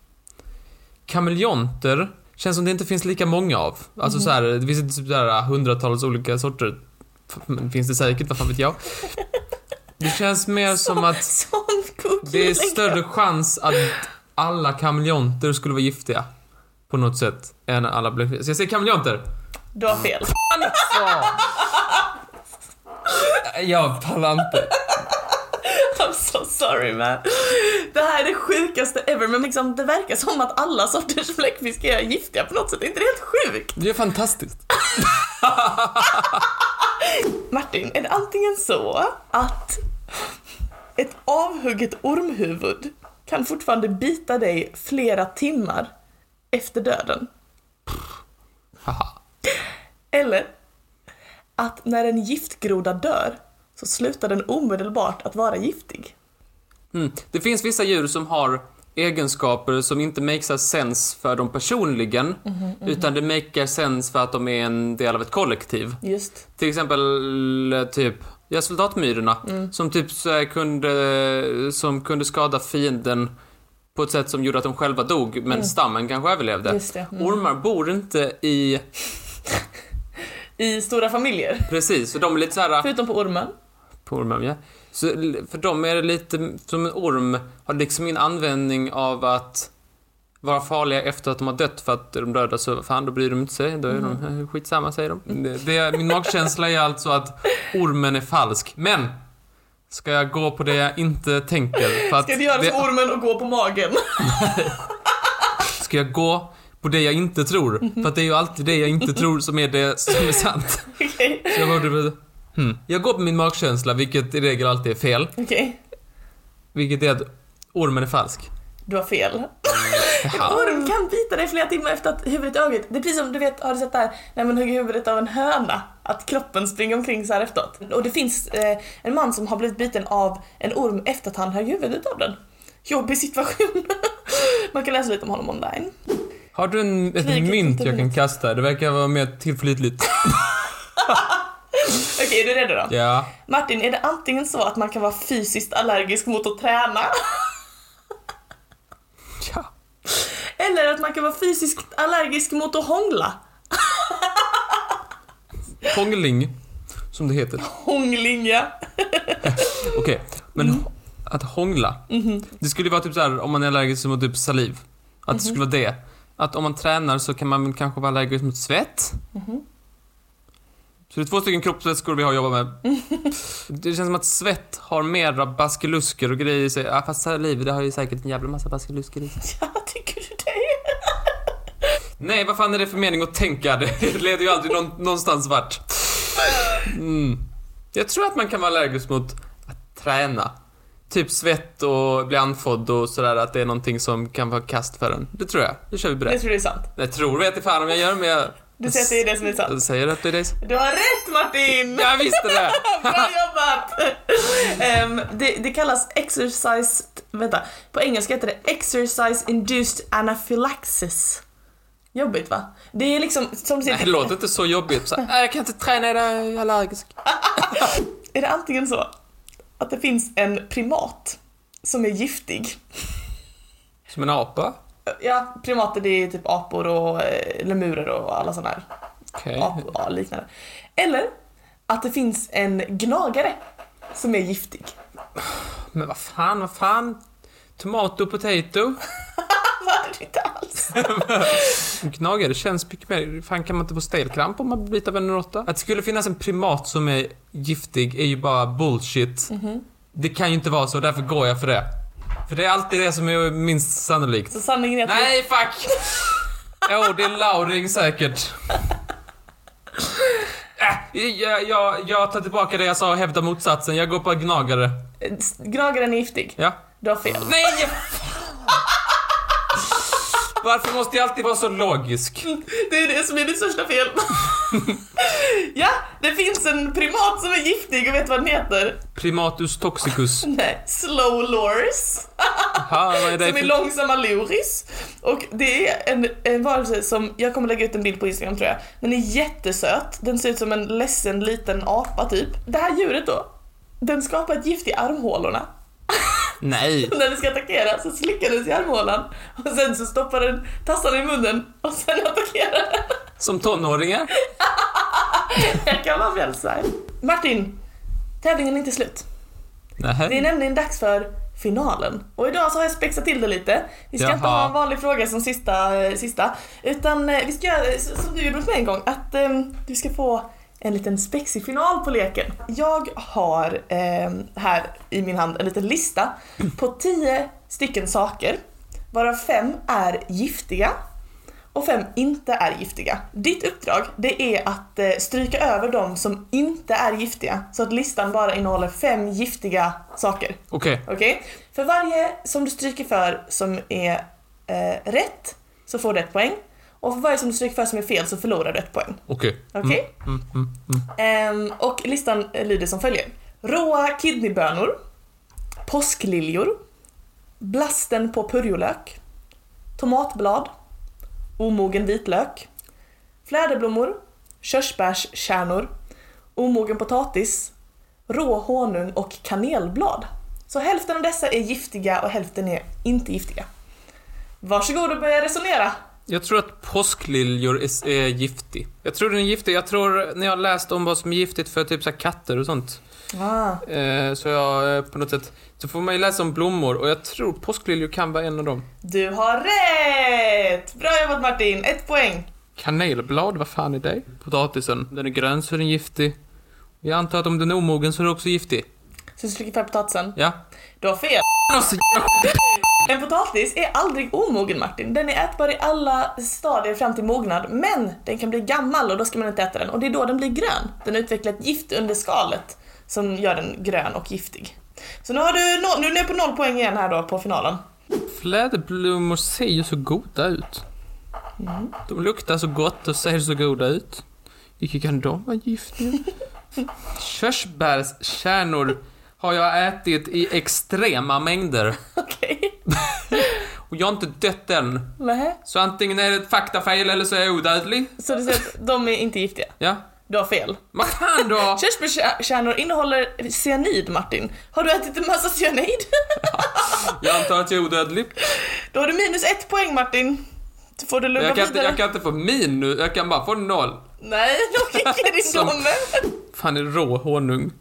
Speaker 2: Kameleonter känns som det inte finns lika många av. Alltså så här, det finns inte så här hundratals olika sorter. F- men Finns det säkert, vad fan vet jag. Det
Speaker 1: *laughs*
Speaker 2: känns mer som att
Speaker 1: Sån god
Speaker 2: det är
Speaker 1: jullängtan.
Speaker 2: större chans att alla kameleonter skulle vara giftiga. På något sätt. Än alla bläckfiskar. Så jag säger kameleonter.
Speaker 1: Du har fel.
Speaker 2: Fan också! Jag pallar inte.
Speaker 1: I'm so sorry man. Det här är det sjukaste ever men liksom det verkar som att alla sorters bläckfiskar är giftiga på något sätt. Är inte det helt sjukt?
Speaker 2: Det är fantastiskt.
Speaker 1: Martin, är det antingen så att ett avhugget ormhuvud kan fortfarande bita dig flera timmar efter döden?
Speaker 2: Haha.
Speaker 1: Eller att när en giftgroda dör så slutar den omedelbart att vara giftig.
Speaker 2: Mm. Det finns vissa djur som har egenskaper som inte makes a sense för dem personligen.
Speaker 1: Mhm,
Speaker 2: Utan det makes sense för att de är en del av ett kollektiv.
Speaker 1: Just.
Speaker 2: Till exempel eh, typ ja, soldatmyrorna
Speaker 1: Mm.
Speaker 2: som typ så här kunde, som kunde skada fienden på ett sätt som gjorde att de själva dog men stammen kanske överlevde.
Speaker 1: Mm. Just det. Mm.
Speaker 2: Ormar bor inte i...
Speaker 1: I stora familjer.
Speaker 2: Precis, så de är lite så här...
Speaker 1: Förutom på ormen.
Speaker 2: På ormen, ja. Så l- för dem är det lite som en orm har liksom ingen användning av att vara farliga efter att de har dött för att de döda så fan då bryr de inte sig. Då är de eh, skitsamma säger de. Det, det, min magkänsla är alltså att ormen är falsk. Men! Ska jag gå på det jag inte tänker? För att
Speaker 1: Ska du göra
Speaker 2: det-
Speaker 1: som ormen och gå på magen?
Speaker 2: ska jag gå på det jag inte tror? För att det är ju alltid det jag inte tror som är det som är *laughs* sant.
Speaker 1: Okej.
Speaker 2: Så jag, bara, hmm. jag går på min magkänsla, vilket i regel alltid är fel.
Speaker 1: Okej.
Speaker 2: Vilket är att ormen är falsk.
Speaker 1: Du har fel.
Speaker 2: *laughs* Jaha.
Speaker 1: Orm kan bita dig flera timmar efter att huvudet är hugget. Det är precis som du vet, har du sett det här när man hugger huvudet av en höna? Att kroppen springer omkring så här efteråt. Och det finns eh, en man som har blivit biten av en orm efter att han högg huvudet av den. Jobbig situation. *laughs* man kan läsa lite om honom online.
Speaker 2: Har du en, ett
Speaker 1: Kriget
Speaker 2: mynt
Speaker 1: inte
Speaker 2: jag kan kasta? Det verkar vara mer *laughs* tillförlitligt.
Speaker 1: Okej, är du redo då?
Speaker 2: Ja.
Speaker 1: Martin, är det antingen så att man kan vara fysiskt allergisk mot att träna? *laughs*
Speaker 2: ja.
Speaker 1: Eller att man kan vara fysiskt allergisk mot att hångla?
Speaker 2: Hångling, som det heter.
Speaker 1: Hångling, ja. *laughs*
Speaker 2: Okej, men att hångla. Det skulle ju vara typ så här om man är allergisk mot typ saliv. Att det skulle vara det. Att om man tränar så kan man väl kanske vara allergisk mot svett. Så det är två stycken kroppsvätskor vi har att jobba med. *laughs* Det känns som att svett har mera baskelusker och grejer i sig. Ja, fast saliv, det har ju säkert en jävla massa baskelusker i sig.
Speaker 1: Ja, tycker du det?
Speaker 2: Nej, vad fan är det för mening att tänka? *laughs* Det leder ju aldrig någon, någonstans vart. Mm. Jag tror att man kan vara allergisk mot att träna. Typ svett och bli andfådd och sådär, att det är någonting som kan vara kast för en. Det tror jag. Det kör vi på
Speaker 1: Jag
Speaker 2: det.
Speaker 1: tror det är sant.
Speaker 2: Jag tror vet inte fan om jag gör, men jag...
Speaker 1: Du säger att det är det som är sant.
Speaker 2: Jag säger att det är det.
Speaker 1: Du har rätt Martin!
Speaker 2: Jag visste det!
Speaker 1: *laughs* Bra jobbat! Ehm, det, det kallas exercise... Vänta, på engelska heter det exercise induced anaphylaxis. Jobbigt va? Det är liksom som du
Speaker 2: Nej, det
Speaker 1: säger,
Speaker 2: låter inte så jobbigt. Så, "Nej, jag kan inte träna idag, jag är allergisk.
Speaker 1: är det antingen så att det finns en primat som är giftig.
Speaker 2: Som en apa?
Speaker 1: Ja, primater det är typ apor och eh, lemurer och alla sådana här
Speaker 2: Okej.
Speaker 1: apor ja, liknande. Eller att det finns en gnagare som är giftig.
Speaker 2: Men vad fan, vad fan? Tomat och potato?
Speaker 1: Vad är det inte alls?
Speaker 2: Gnagare känns mycket mer... Fan kan man inte få stelkramp om man blir biten av en råtta? Att det skulle finnas en primat som är giftig är ju bara bullshit. Det kan ju inte vara så, därför går jag för det. För det är alltid det som är minst sannolikt.
Speaker 1: Så sanningen är att
Speaker 2: Nej, fuck! Jo, det är Lauring säkert. Äh, jag, jag, jag tar tillbaka det jag sa och hävdar motsatsen. Jag går på gnagare.
Speaker 1: Gnagaren är giftig.
Speaker 2: Ja.
Speaker 1: Du har fel.
Speaker 2: Nej! Varför måste jag alltid vara så logisk?
Speaker 1: Det är det som är mitt största *laughs* fel. ja, det finns en primat som är giftig och vet vad den heter?
Speaker 2: Primatus toxicus.
Speaker 1: Nej, slow loris.
Speaker 2: Aha, vad är det
Speaker 1: Som är
Speaker 2: för...
Speaker 1: långsamma loris. Och det är en, en varelse som, jag kommer lägga ut en bild på Instagram tror jag. Den är jättesöt, den ser ut som en ledsen liten apa typ. Det här djuret då, den skapar ett gift i armhålorna.
Speaker 2: Nej.
Speaker 1: *laughs* När den ska attackera så slickar den sig i armhålan och sen så stoppar den tassarna i munnen och sen attackerar den.
Speaker 2: Som tonåringar?
Speaker 1: *laughs* Jag kan vara frälsare. Martin, tävlingen är inte slut. Det är
Speaker 2: Nej.
Speaker 1: nämligen dags för finalen. Och idag så har jag spexat till det lite. Vi ska inte
Speaker 2: Jaha.
Speaker 1: ha en vanlig fråga som sista, eh, sista utan eh, vi ska göra eh, s- som du gjorde åt mig en gång, att ehm, du ska få en liten spexig final på leken. Jag har ehm, här i min hand en liten lista på tio stycken saker, varav fem är giftiga och fem inte är giftiga. Ditt uppdrag det är att eh, stryka över de som inte är giftiga så att listan bara innehåller fem giftiga saker.
Speaker 2: Okej.
Speaker 1: Okej? För varje som du stryker för som är eh, rätt så får du ett poäng och för varje som du stryker för som är fel så förlorar du ett poäng.
Speaker 2: Okej. Mm,
Speaker 1: Okej? Ehm, och listan eh, lyder som följer. Råa kidneybönor, påskliljor, blasten på purjolök, tomatblad, omogen vitlök, fläderblommor, körsbärskärnor, omogen potatis, rå honung och kanelblad. Så hälften av dessa är giftiga och hälften är inte giftiga. Varsågod och börja resonera.
Speaker 2: Jag tror att påskliljor är, är giftig. Jag tror den är giftig. Jag tror, när jag har läst om vad som är giftigt för typ så här katter och sånt,
Speaker 1: Ah.
Speaker 2: eh, så jag eh, på något sätt, så får man ju läsa om blommor och jag tror påskliljor kan vara en av dem.
Speaker 1: Du har rätt! Bra jobbat Martin, ett poäng.
Speaker 2: Kanelblad, vad fan är det? Potatisen, den är grön så är den giftig. Jag antar att om den är omogen så är den också giftig.
Speaker 1: Så slickar för potatisen.
Speaker 2: Ja.
Speaker 1: Du har fel.
Speaker 2: Alltså, jävla skit.
Speaker 1: En potatis är aldrig omogen Martin. Den är ätbar i alla stadier fram till mognad. Men den kan bli gammal och då ska man inte äta den. Och det är då den blir grön. Den utvecklar ett gift under skalet som gör den grön och giftig. Så nu, har du no- nu är du nere på noll poäng igen här då på finalen. *laughs*
Speaker 2: Fläderblommor ser ju så goda ut. De luktar så gott och ser så goda ut. Vilka kan de vara giftiga? Körsbärskärnor har jag ätit i extrema mängder.
Speaker 1: Okej.
Speaker 2: Och jag har inte dött än.
Speaker 1: Nähä.
Speaker 2: Så antingen är det ett faktafel eller så är jag odödlig.
Speaker 1: Så du säger att de är inte giftiga?
Speaker 2: Ja.
Speaker 1: Du har fel.
Speaker 2: Vad fan då?
Speaker 1: Körsbärskärnor innehåller cyanid Martin. Har du ätit en massa cyanid? *laughs*
Speaker 2: Jag antar att jag är odödlig.
Speaker 1: Då har du minus ett poäng Martin. Då får du lugna
Speaker 2: Jag kan, inte,
Speaker 1: vidare.
Speaker 2: jag kan inte få minus, jag kan bara få noll.
Speaker 1: Nej, *laughs* logiken i
Speaker 2: Som-
Speaker 1: domen.
Speaker 2: Fan, är det rå honung?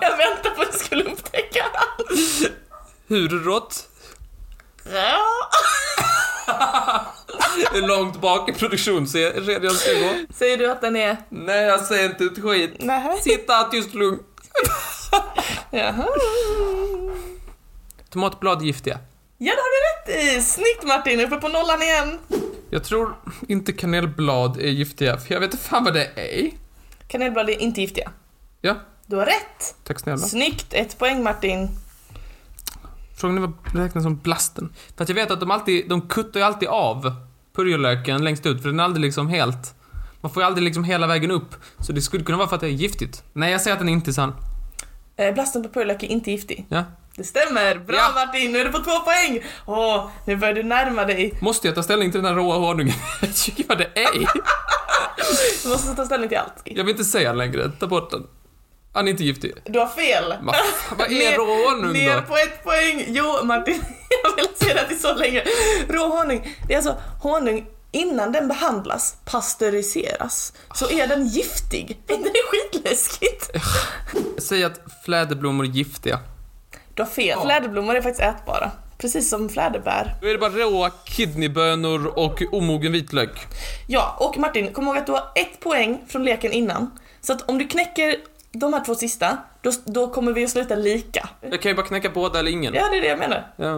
Speaker 1: Jag väntade på att du skulle upptäcka.
Speaker 2: Hur rått?
Speaker 1: Ja.
Speaker 2: Hur långt bak i produktionskedjan ska jag gå?
Speaker 1: Säger du att den är...
Speaker 2: Nej, jag säger inte ett skit.
Speaker 1: Nähä.
Speaker 2: Sitta tyst och lugn.
Speaker 1: Jaha.
Speaker 2: Tomatblad är giftiga.
Speaker 1: Ja, det har du rätt i. Snyggt Martin, uppe på nollan igen.
Speaker 2: Jag tror inte kanelblad är giftiga, för jag vet inte fan vad det är.
Speaker 1: Kanelblad är inte giftiga.
Speaker 2: Ja,
Speaker 1: Du har rätt.
Speaker 2: tack snälla.
Speaker 1: Snyggt, ett poäng Martin.
Speaker 2: Frågan är vad räknas som blasten? För att jag vet att de alltid, de kuttar ju alltid av purjolöken längst ut, för den är aldrig liksom helt... Man får ju aldrig liksom hela vägen upp, så det skulle kunna vara för att det är giftigt. Nej, jag säger att den inte är sann.
Speaker 1: Eh, Blasten på purjolök är inte giftig.
Speaker 2: Ja.
Speaker 1: Det stämmer. Bra
Speaker 2: Ja.
Speaker 1: Martin, nu är du på två poäng. Åh, nu börjar du närma dig.
Speaker 2: Måste jag ta ställning till den här råa honungen? *laughs* Jag tycker vad det är.
Speaker 1: Du måste ta ställning till allt.
Speaker 2: Jag vill inte säga den längre, ta bort den. Han är inte giftig.
Speaker 1: Du har fel.
Speaker 2: Va- Vad är
Speaker 1: Ner-
Speaker 2: rå honung
Speaker 1: Ner
Speaker 2: då?
Speaker 1: på ett poäng! Jo Martin, *laughs* jag vill säga det till så länge. Rå honung, det är alltså honung innan den behandlas, pasteuriseras, så är den giftig. *laughs* Är inte det skitläskigt?
Speaker 2: Säg att fläderblommor är giftiga.
Speaker 1: Du har fel, fläderblommor är faktiskt ätbara. Precis som fläderbär.
Speaker 2: Då är det bara råa kidneybönor och omogen vitlök.
Speaker 1: Ja, och Martin, kom ihåg att du har ett poäng från leken innan. Så att om du knäcker de här två sista, då, då kommer vi att sluta lika.
Speaker 2: Jag kan ju bara knäcka båda eller ingen.
Speaker 1: Ja, det är det jag menar.
Speaker 2: Ja.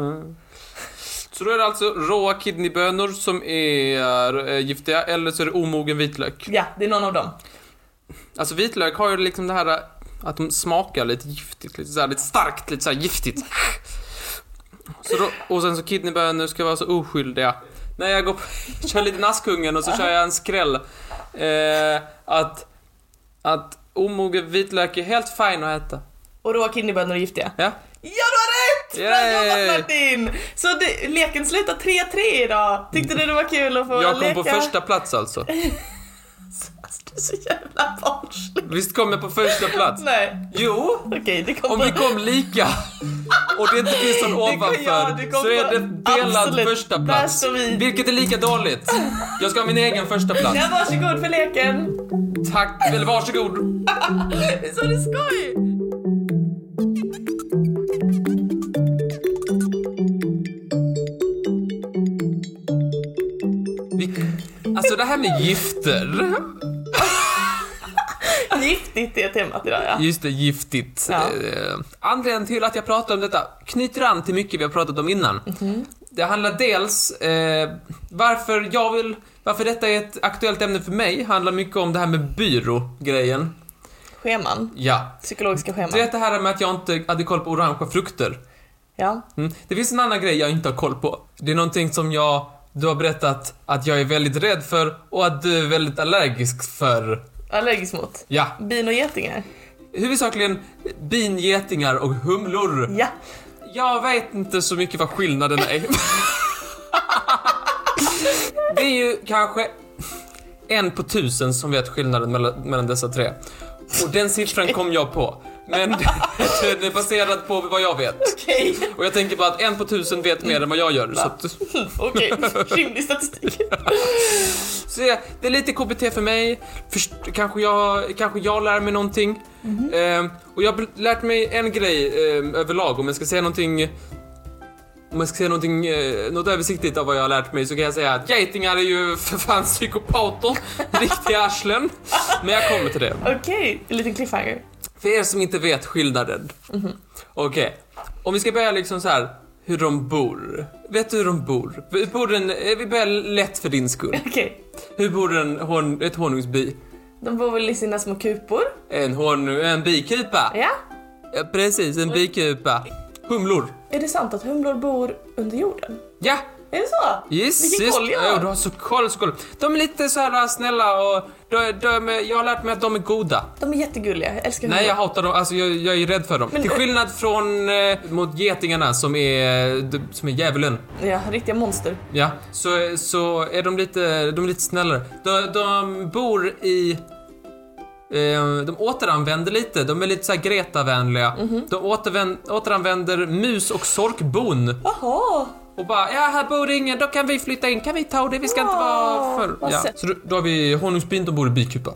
Speaker 2: Så då är det alltså råa kidneybönor som är eh, giftiga, eller så är det omogen vitlök.
Speaker 1: Ja, det är någon av dem.
Speaker 2: Alltså vitlök har ju liksom det här eh, att de smakar lite giftigt, lite, så här, lite starkt, lite så här giftigt. Så då, och sen så kidnappar jag nu ska vara så oskyldiga. Nej, jag går på, *laughs* kör lite Naskungen och så kör jag en skräll. Eh, att, att omogen vitlök är helt fine att äta.
Speaker 1: Och då var kidneybönor giftiga.
Speaker 2: Ja.
Speaker 1: Ja, du har rätt! Bra
Speaker 2: Yay!
Speaker 1: jobbat Martin! Så det, leken slutar 3-3 idag. Tyckte du det var kul att få
Speaker 2: Jag kom
Speaker 1: leka?
Speaker 2: på första plats alltså.
Speaker 1: Alltså, Du är *laughs* så jävla barnslig.
Speaker 2: Visst kom jag på första plats?
Speaker 1: *laughs* Nej,
Speaker 2: Jo,
Speaker 1: okej det kom
Speaker 2: om
Speaker 1: på-
Speaker 2: vi kom lika och det inte finns någon
Speaker 1: Det kom jag,
Speaker 2: ovanför
Speaker 1: det kom
Speaker 2: så är
Speaker 1: jag.
Speaker 2: det delad
Speaker 1: Absolut.
Speaker 2: första
Speaker 1: Där
Speaker 2: plats.
Speaker 1: står vi.
Speaker 2: Vilket är lika dåligt. Jag ska ha min egen första plats.
Speaker 1: Ja, varsågod för leken. *laughs*
Speaker 2: Tack, eller varsågod.
Speaker 1: Visst var det skoj?
Speaker 2: Vi- Alltså det här med gifter.
Speaker 1: Giftigt är temat idag ja.
Speaker 2: Just det, giftigt.
Speaker 1: Ja.
Speaker 2: Eh, anledningen till att jag pratar om detta knyter an till mycket vi har pratat om innan.
Speaker 1: Mhm.
Speaker 2: Det handlar dels eh, varför jag vill, varför detta är ett aktuellt ämne för mig, handlar mycket om det här med byrå-grejen.
Speaker 1: Scheman.
Speaker 2: Ja.
Speaker 1: Psykologiska scheman.
Speaker 2: Det är det här med att jag inte hade koll på orangea frukter.
Speaker 1: Ja.
Speaker 2: Mm. Det finns en annan grej jag inte har koll på. Det är någonting som jag, du har berättat att jag är väldigt rädd för och att du är väldigt allergisk för.
Speaker 1: Allergisk mot.
Speaker 2: Ja,
Speaker 1: Bin och getingar.
Speaker 2: huvudsakligen bin, getingar och humlor.
Speaker 1: Ja.
Speaker 2: Jag vet inte så mycket vad skillnaden är. *laughs* det är ju kanske en på tusen som vet skillnaden mellan, mellan dessa tre. Och den siffran kom jag på. Men *laughs* den är baserad på vad jag vet.
Speaker 1: Okej. *laughs*
Speaker 2: Och jag tänker bara att en på tusen vet mer än vad jag gör. Så, att,
Speaker 1: Okej. Rimlig statistik.
Speaker 2: så det, det är lite KBT för mig. Först, kanske, jag, kanske jag lär mig någonting. Ehm, och jag har bl- lärt mig en grej ehm, överlag. Om jag ska säga någonting om jag ska säga någonting, eh, något översiktligt av vad jag har lärt mig så kan jag säga att getingar är ju för fan psykopater, *laughs* riktiga arslen. Men jag kommer till det.
Speaker 1: Okej. En liten cliffhanger.
Speaker 2: För er som inte vet skillnaden.
Speaker 1: Mhm.
Speaker 2: Okej, om vi ska börja liksom så här hur de bor. Vet du hur de bor? Vi, bor en, eh, vi börjar lätt för din skull.
Speaker 1: Okej.
Speaker 2: Hur bor en hon, ett honungsbi?
Speaker 1: De bor väl i sina små kupor?
Speaker 2: En, hon, en bikupa?
Speaker 1: Ja.
Speaker 2: Ja, precis, en bikupa. Humlor.
Speaker 1: Är det sant att humlor bor under jorden?
Speaker 2: Ja,
Speaker 1: Är det så?
Speaker 2: Yes,
Speaker 1: Vilken
Speaker 2: yes.
Speaker 1: koll jag har.
Speaker 2: Ja, du har så koll, så koll. De är lite så här eh, snälla och de, de, är- jag har lärt mig att de är goda.
Speaker 1: De är jättegulliga. Jag älskar humlor.
Speaker 2: Nej, jag hatar dem. Alltså, jag, jag är rädd för dem.
Speaker 1: Men-
Speaker 2: Till skillnad från eh, mot getingarna som är, de, som är djävulen.
Speaker 1: Ja, riktiga monster.
Speaker 2: Ja, så, så är de lite, de är lite snällare. De, de bor i... Eh, de återanvänder lite. De är lite så här Greta-vänliga. De återvän, återanvänder mus och sorkbon.
Speaker 1: Jaha.
Speaker 2: Och bara, ja här bor ingen, då kan vi flytta in, kan vi ta det, vi ska inte
Speaker 1: Åh,
Speaker 2: vara för...
Speaker 1: vad
Speaker 2: Ja.
Speaker 1: sött.
Speaker 2: Så då, då har vi honungsbin, de bor i bikupa.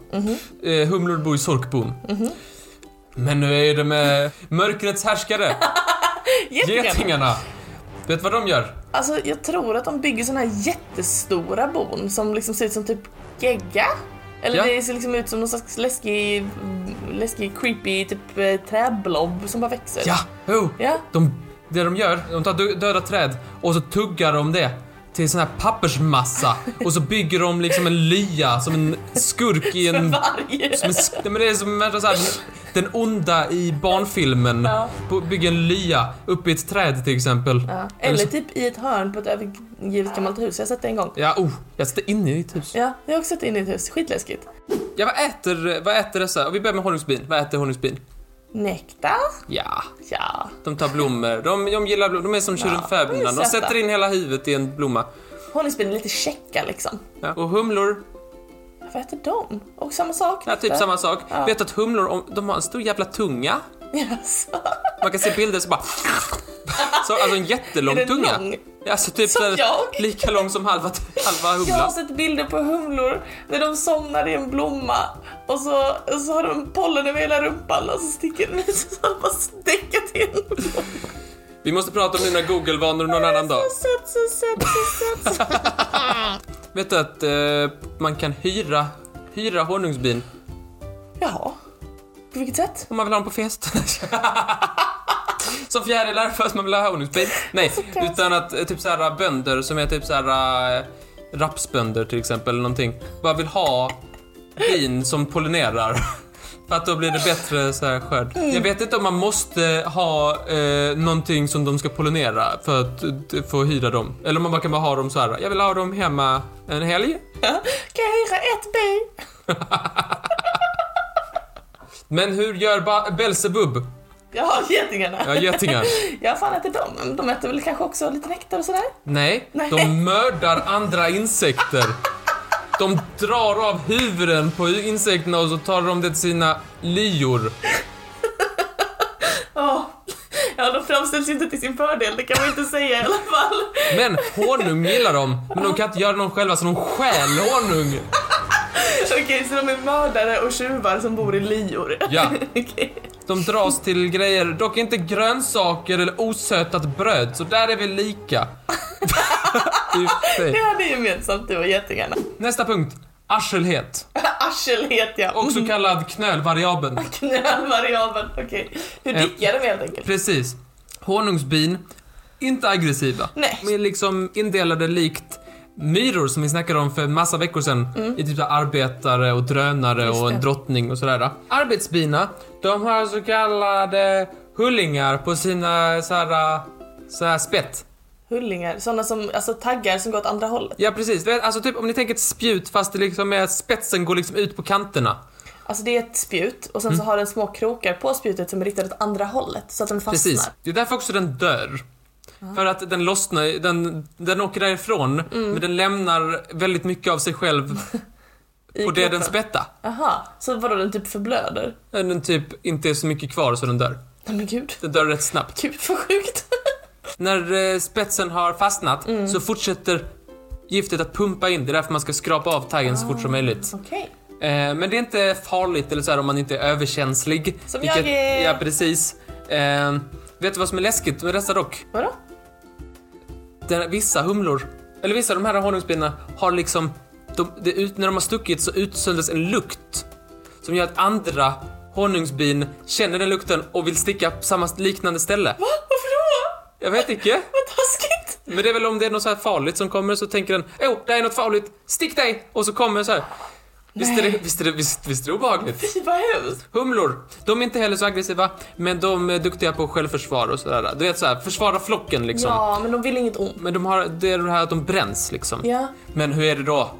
Speaker 2: Eh, humlor bor i sorkbon. Men nu är det med mörkrets härskare,
Speaker 1: Getingar.
Speaker 2: getingarna. Vet du vad de gör?
Speaker 1: Alltså jag tror att de bygger såna här jättestora bon som liksom ser ut som typ gegga. Eller
Speaker 2: Ja.
Speaker 1: det ser liksom ut som någon slags läskig, läskig creepy typ eh, träblob som bara växer.
Speaker 2: Ja, oh.
Speaker 1: Ja.
Speaker 2: De, det de gör, de tar dö- döda träd och så tuggar de det till sån här pappersmassa och så bygger de liksom en lya som en skurk i
Speaker 1: *laughs*
Speaker 2: en
Speaker 1: Varje.
Speaker 2: Mm. Som en, sk- Nej, men det är som en, så här, den onda i barnfilmen.
Speaker 1: Ja.
Speaker 2: På, bygger en lya uppe i ett träd till exempel.
Speaker 1: Ja.
Speaker 2: Eller
Speaker 1: Eller
Speaker 2: så-
Speaker 1: typ i ett hörn på ett övergivet gammalt hus. Jag har sett det en gång.
Speaker 2: Ja, oh, jag sitter inne i ditt hus.
Speaker 1: Ja, jag har också sett det inne i ett hus. Skitläskigt.
Speaker 2: Ja, vad äter, vad äter dessa? Och vi börjar med honungsbin. Vad äter honungsbin?
Speaker 1: Nektar?
Speaker 2: Ja,
Speaker 1: Ja.
Speaker 2: de tar blommor. De, de gillar blommor. De är som
Speaker 1: de
Speaker 2: kirunfäbodarna.
Speaker 1: är
Speaker 2: De
Speaker 1: söta.
Speaker 2: sätter in hela huvudet i en blomma.
Speaker 1: Honungsbin är lite käcka liksom.
Speaker 2: Ja. Och humlor,
Speaker 1: Vad äter de? Och samma sak?
Speaker 2: ja, typ
Speaker 1: nektar?
Speaker 2: samma sak.
Speaker 1: Ja.
Speaker 2: Vet du att humlor, om- de har en stor jävla tunga.
Speaker 1: Jaså?
Speaker 2: Man kan se bilder så bara... *laughs* Så, alltså en jättelång
Speaker 1: Är den
Speaker 2: tunga.
Speaker 1: lång?
Speaker 2: Ja, alltså typ
Speaker 1: Som
Speaker 2: så här-
Speaker 1: jag?
Speaker 2: lika lång som halva, halva
Speaker 1: Jag
Speaker 2: humlan.
Speaker 1: har sett bilder på humlor när de somnar i en blomma och så, och så har de pollen över hela rumpan och så sticker den ut och så har de bara däckat till en blomma.
Speaker 2: Vi måste prata om dina Google-vanor någon annan dag.
Speaker 1: Så sött, så sött, så
Speaker 2: *laughs*
Speaker 1: sött.
Speaker 2: Vet du att eh, man kan hyra, hyra honungsbin
Speaker 1: Jaha. På vilket sätt?
Speaker 2: om man vill ha dem på fest? Som fjärilar för att man vill ha honungsbin. Nej,
Speaker 1: konstigt.
Speaker 2: utan att eh, typ såhär bönder som är typ såhär eh, rapsbönder till exempel eller någonting bara vill ha bin som pollinerar. För att då blir det bättre så här skörd. Jag vet inte om man måste ha eh, någonting som de ska pollinera för att eh, få hyra dem. Eller om man bara kan bara ha dem så här. Jag vill ha dem hemma en helg.
Speaker 1: Kan jag hyra ett bi?
Speaker 2: Men hur gör ba- Belsebub?
Speaker 1: Jag har getingarna.
Speaker 2: Ja, getingar.
Speaker 1: Jag har fan ätit dem. men De äter väl kanske också lite nektar och sådär.
Speaker 2: Nej,
Speaker 1: Nej.
Speaker 2: de mördar andra insekter. De drar av huvuden på insekterna och så tar de det till sina lyor.
Speaker 1: Ja. Ja, de framställs ju inte till sin fördel, det kan man inte säga i alla fall.
Speaker 2: Men honung gillar de, men de kan inte göra någon själva så de stjäl honung.
Speaker 1: Okej, så de är mördare och tjuvar som bor i lior?
Speaker 2: Ja.
Speaker 1: *laughs* Okej.
Speaker 2: De dras till grejer, dock inte grönsaker eller osötat bröd, så där är vi lika. *laughs* I och för sig.
Speaker 1: Det hade gemensamt du och getingarna.
Speaker 2: Nästa punkt. Arselhet,
Speaker 1: *laughs* Arsel heter *laughs* jag.
Speaker 2: också kallad knölvariabeln.
Speaker 1: Knölvariabeln, okej. Du
Speaker 2: Eh.
Speaker 1: dickar dem helt enkelt.
Speaker 2: Precis. Honungsbin, inte aggressiva.
Speaker 1: Nej.
Speaker 2: De är liksom indelade likt myror som vi snackade om för en massa veckor sedan. I typ så här arbetare och drönare
Speaker 1: Mm. Just
Speaker 2: och
Speaker 1: det.
Speaker 2: en drottning och sådär. Arbetsbina, de har så kallade hullingar på sina så här, så här spett.
Speaker 1: Hullingar, sådana som, alltså taggar som går åt andra hållet.
Speaker 2: Ja precis, Du vet, alltså typ om ni tänker ett spjut fast det liksom är spetsen går liksom ut på kanterna.
Speaker 1: Alltså det är ett spjut och sen
Speaker 2: Mm.
Speaker 1: så har den små krokar på spjutet som är riktade åt andra hållet så att den fastnar.
Speaker 2: Precis. Det är därför också den dör. För att den lossnar, den, den åker därifrån
Speaker 1: Mm.
Speaker 2: men den lämnar väldigt mycket av sig själv
Speaker 1: I
Speaker 2: på det den
Speaker 1: kroppen.
Speaker 2: spätta.
Speaker 1: Aha, så vadå den typ förblöder?
Speaker 2: Den typ inte är så mycket kvar så den dör.
Speaker 1: Nej men gud.
Speaker 2: Den dör rätt snabbt.
Speaker 1: Gud vad sjukt. *laughs*
Speaker 2: När eh, spetsen har fastnat
Speaker 1: Mm.
Speaker 2: så fortsätter giftet att pumpa in. Det är därför man ska skrapa av taggen så fort
Speaker 1: Ah.
Speaker 2: som möjligt.
Speaker 1: Okej.
Speaker 2: Eh, men det är inte farligt eller så här om man inte är överkänslig.
Speaker 1: Som jag är.
Speaker 2: Ja, precis. Eh, vet du vad som är läskigt med dessa dock?
Speaker 1: Vadå?
Speaker 2: den, vissa humlor, eller vissa av de här honungsbina har liksom, de, det ut, när de har stuckit så utsöndras en lukt som gör att andra honungsbin känner den lukten och vill sticka på samma liknande ställe.
Speaker 1: Va? Varför då?
Speaker 2: Jag vet inte,
Speaker 1: Vad taskigt!
Speaker 2: men det är väl om det är något så här farligt som kommer så tänker den åh, oh, det här är något farligt, stick dig! Och så kommer den så här. Visst är, det,
Speaker 1: Nej.
Speaker 2: visst, är det, visst, visst är det obehagligt?
Speaker 1: Fy vad hemskt!
Speaker 2: Humlor, de är inte heller så aggressiva, men de är duktiga på självförsvar och sådär. Du vet såhär, försvara flocken liksom.
Speaker 1: Ja, men de vill inget ont.
Speaker 2: Men de har, det är det här att de bränns liksom.
Speaker 1: Ja.
Speaker 2: Men hur är det då?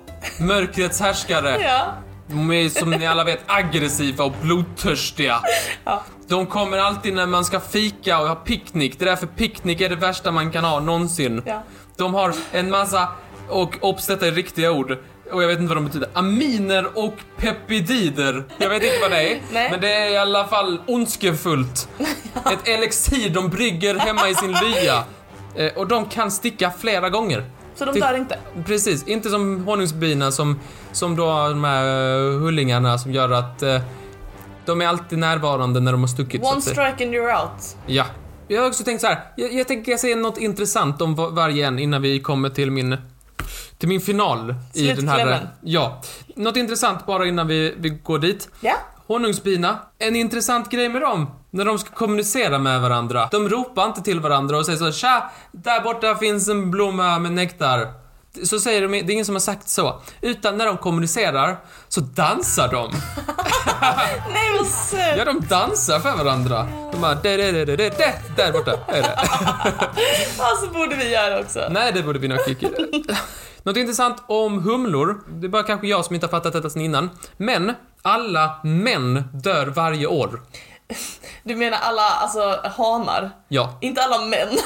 Speaker 2: Mörkrets härskare,
Speaker 1: Ja.
Speaker 2: de är som ni alla vet aggressiva och blodtörstiga.
Speaker 1: Ja.
Speaker 2: De kommer alltid när man ska fika och ha picknick. Det är därför picknick är det värsta man kan ha någonsin.
Speaker 1: Ja.
Speaker 2: De har en massa, och obs detta är riktiga ord, och jag vet inte vad de betyder, aminer och peptider. Jag vet inte vad det är,
Speaker 1: Nej.
Speaker 2: men det är i alla fall
Speaker 1: *laughs*
Speaker 2: ondskefullt. Ett elixir de brygger hemma i sin lya. Eh, Och de kan sticka flera gånger.
Speaker 1: Så de
Speaker 2: Ty-
Speaker 1: dör inte?
Speaker 2: Precis, inte som honungsbina som, som då har de här eh, hullingarna som gör att eh, de är alltid närvarande när de har stuckit. så
Speaker 1: One
Speaker 2: att säga.
Speaker 1: strike and you're out.
Speaker 2: Ja. Jag har också tänkt så här. Jag, jag tänker jag säger något intressant om va- varje en innan vi kommer till min, till min final i den här... eh,
Speaker 1: Slutklämmen.
Speaker 2: Ja. Något intressant bara innan vi, vi går dit.
Speaker 1: Ja.
Speaker 2: Honungsbina, en intressant grej med dem, när de ska kommunicera med varandra. De ropar inte till varandra och säger så här, Tja, där borta finns en blomma med nektar. Så säger de, det är ingen som har sagt så. Utan när de kommunicerar så dansar de.
Speaker 1: Nej vad
Speaker 2: Ja,
Speaker 1: söt!
Speaker 2: de dansar för varandra. De bara, "Där, där, där, där, där, där, där borta är det.
Speaker 1: Ja, så borde vi göra också.
Speaker 2: Nej, det borde vi nog kicka. Något intressant om humlor, det är bara kanske jag som inte har fattat detta sen innan, men alla män dör varje år.
Speaker 1: Du menar alla, alltså hanar?
Speaker 2: Ja, *laughs*
Speaker 1: Inte alla män. *laughs*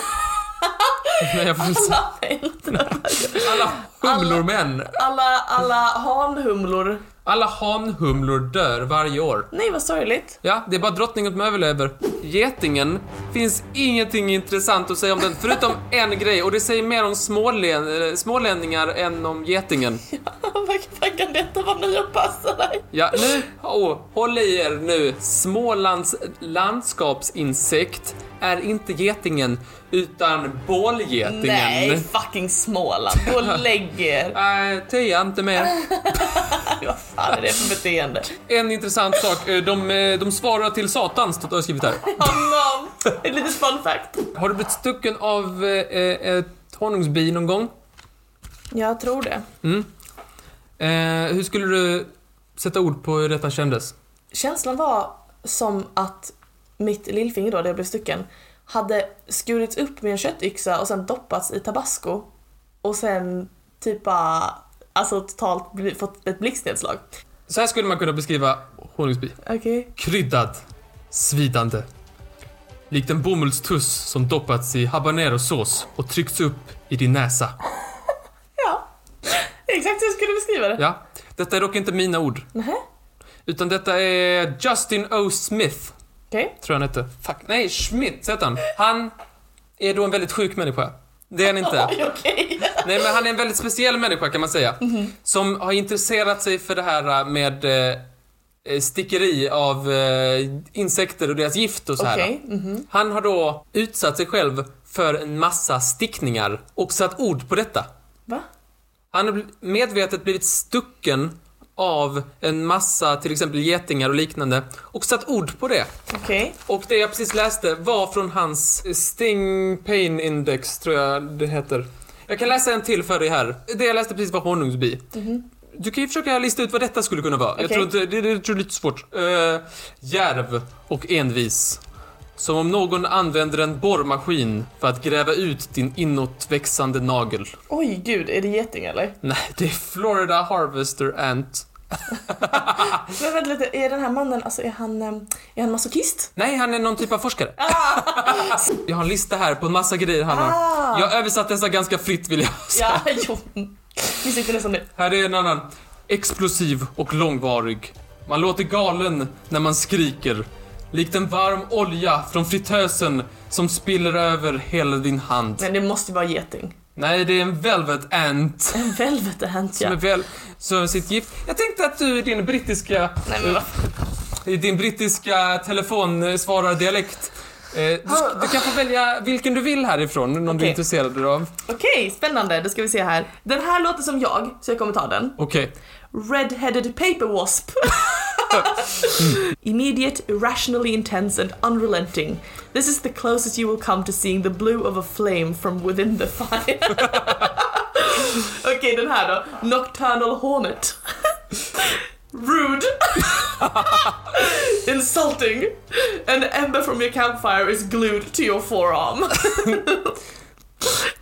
Speaker 2: men jag får väl säga-
Speaker 1: Alla män.
Speaker 2: alla humlor män.
Speaker 1: Alla, alla hanhumlor.
Speaker 2: Alla hanhumlor dör varje år.
Speaker 1: Nej vad sorgligt. *laughs*
Speaker 2: Ja, det är bara drottningen som överlever. Getingen finns ingenting intressant att säga om den,
Speaker 1: *laughs*
Speaker 2: förutom en grej, och det säger mer om smålän, eh, smålänningar än om getingen.
Speaker 1: Vad vad kan detta vara nu och passa dig?
Speaker 2: Ja, nu, åh, håll i er nu. Smålands landskapsinsekt är inte getingen, utan bålgetingen.
Speaker 1: Nej, fucking Småland. Gå och lägg er. *laughs*
Speaker 2: Nej, tia Äh, inte mer.
Speaker 1: Vad fan är det för beteende?
Speaker 2: En intressant sak, eh, de, eh, de svarar till Satan, står det jag har skrivit här.
Speaker 1: Honom! Ett litet fun fact.
Speaker 2: Har du blivit stucken av eh, ett honungsbi någon gång?
Speaker 1: Jag tror det.
Speaker 2: Eh, hur skulle du sätta ord på hur detta kändes?
Speaker 1: Känslan var som att mitt lillfinger då, där jag blev stucken, hade skurits upp med en köttyxa och sen doppats i tabasco. Och sen typ bara, alltså totalt bli- fått ett blixtnedslag.
Speaker 2: Så här skulle man kunna beskriva honungsbi.
Speaker 1: Okej.
Speaker 2: Kryddad, svidande. Likt en bomullstuss som doppats i habanerosås och tryckts upp i din näsa.
Speaker 1: Ja. *laughs* Exakt hur jag skulle beskriva det.
Speaker 2: Ja, detta är dock inte mina ord.
Speaker 1: Nähä,
Speaker 2: Utan detta är Justin O. Smith,
Speaker 1: okej.
Speaker 2: tror jag han hette. Fuck, nej, Schmidt heter han. Han är då en väldigt sjuk människa. Det är han inte.
Speaker 1: *laughs* Oj, okej.
Speaker 2: Nej, men han är en väldigt speciell människa kan man säga.
Speaker 1: Mhm.
Speaker 2: Som har intresserat sig för det här äh, med eh, stickeri av eh, insekter och deras gift och så här.
Speaker 1: Okej. mhm.
Speaker 2: Han har då utsatt sig själv för en massa stickningar och satt ord på detta.
Speaker 1: Va?
Speaker 2: Han har bl- medvetet blivit stucken av en massa till exempel getingar och liknande och satt ord på det.
Speaker 1: Okej.
Speaker 2: Och det jag precis läste var från hans Sting Pain Index, tror jag det heter. Jag kan läsa en till för dig här. Det jag läste precis var honungsbi. Du kan ju försöka lista ut vad detta skulle kunna vara. Jag
Speaker 1: Okej.
Speaker 2: tror inte, det, det tror jag är lite svårt. Uh, järv och envis. Som om någon använder en borrmaskin för att gräva ut din inåtväxande nagel.
Speaker 1: Oj gud, är det geting eller?
Speaker 2: Nej, det är Florida Harvester Ant.
Speaker 1: Men vänta lite, är den här mannen, alltså är han, ehm, är han masochist?
Speaker 2: Nej, han är någon typ av forskare. Jag har en lista här på en massa grejer han har.
Speaker 1: Ah.
Speaker 2: Jag har översatt dessa ganska fritt vill jag säga.
Speaker 1: Ja, *laughs* jo. Vi sitter nästan nu.
Speaker 2: Här är en annan. Explosiv och långvarig. Man låter galen när man skriker. Likt en varm olja från fritösen som spiller över hela din hand.
Speaker 1: Men det måste ju vara geting.
Speaker 2: Nej, det är en velvet ant.
Speaker 1: En Velvet Ant
Speaker 2: Som är
Speaker 1: ja.
Speaker 2: väl som sitt gift. Jag tänkte att du i din brittiska...
Speaker 1: Nej, men vad-
Speaker 2: I din brittiska telefonsvarardialekt. Eh, du, sk- du kan få välja vilken du vill härifrån, någon du är
Speaker 1: Okej.
Speaker 2: intresserad av.
Speaker 1: Okej, spännande. Då ska vi se här. Den här låter som jag, så jag kommer ta den.
Speaker 2: Okej.
Speaker 1: Red-headed paper wasp. *laughs* Immediate, irrationally intense and unrelenting. This is the closest you will come to seeing the blue of a flame from within the fire. *laughs* Okej, den här då. Nocturnal hornet. *laughs* Rude. *laughs* Insulting. An ember from your campfire is glued to your forearm. *laughs*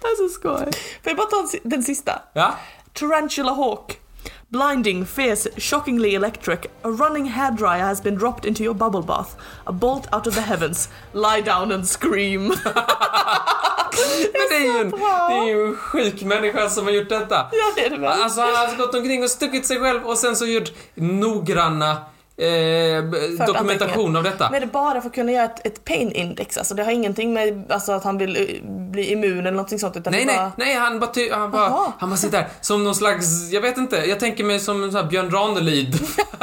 Speaker 1: alltså skoj. Får jag bara ta den sista?
Speaker 2: Ja.
Speaker 1: Tarantula Hawk. Blinding, fierce, shockingly electric, a running hairdryer has been dropped into your bubble bath. A bolt out of the heavens. Lie down and scream. *laughs*
Speaker 2: Men det är ju en,
Speaker 1: bra.
Speaker 2: det är ju en sjuk människa som har gjort detta.
Speaker 1: ja, det är det väl.
Speaker 2: Alltså han har alltså gått omkring och stuckit sig själv och sen så gjort noggranna eh, dokumentation av detta.
Speaker 1: Men det är bara för att kunna göra ett, ett pain index. Alltså det har ingenting med alltså, att han vill eh, bli immun eller någonting sånt. Utan
Speaker 2: Nej,
Speaker 1: det är
Speaker 2: nej,
Speaker 1: bara...
Speaker 2: nej, han bara, ty- han bara,
Speaker 1: Jaha.
Speaker 2: han bara sitter där som någon slags, jag vet inte, jag tänker mig som en sån här Björn Ranelid.
Speaker 1: *laughs*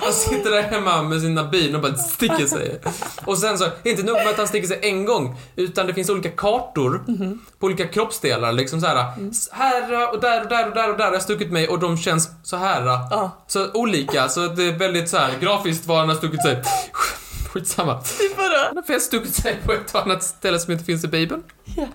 Speaker 2: han sitter där hemma med sina bin och bara sticker sig. Och sen så, inte nog med att han sticker sig en gång, utan det finns olika kartor
Speaker 1: Mhm.
Speaker 2: på olika kroppsdelar liksom så här,
Speaker 1: Mm.
Speaker 2: s- här och där och där och där och där har jag stuckit mig och de känns så här.
Speaker 1: Ja.
Speaker 2: Så olika, så det är väldigt så här grafiskt var han har
Speaker 1: *laughs*
Speaker 2: stuckit sig. Skitsamma.
Speaker 1: Typ vadå? *laughs*
Speaker 2: Han har fel stuckit sig på ett annat ställe som inte finns i Bibeln.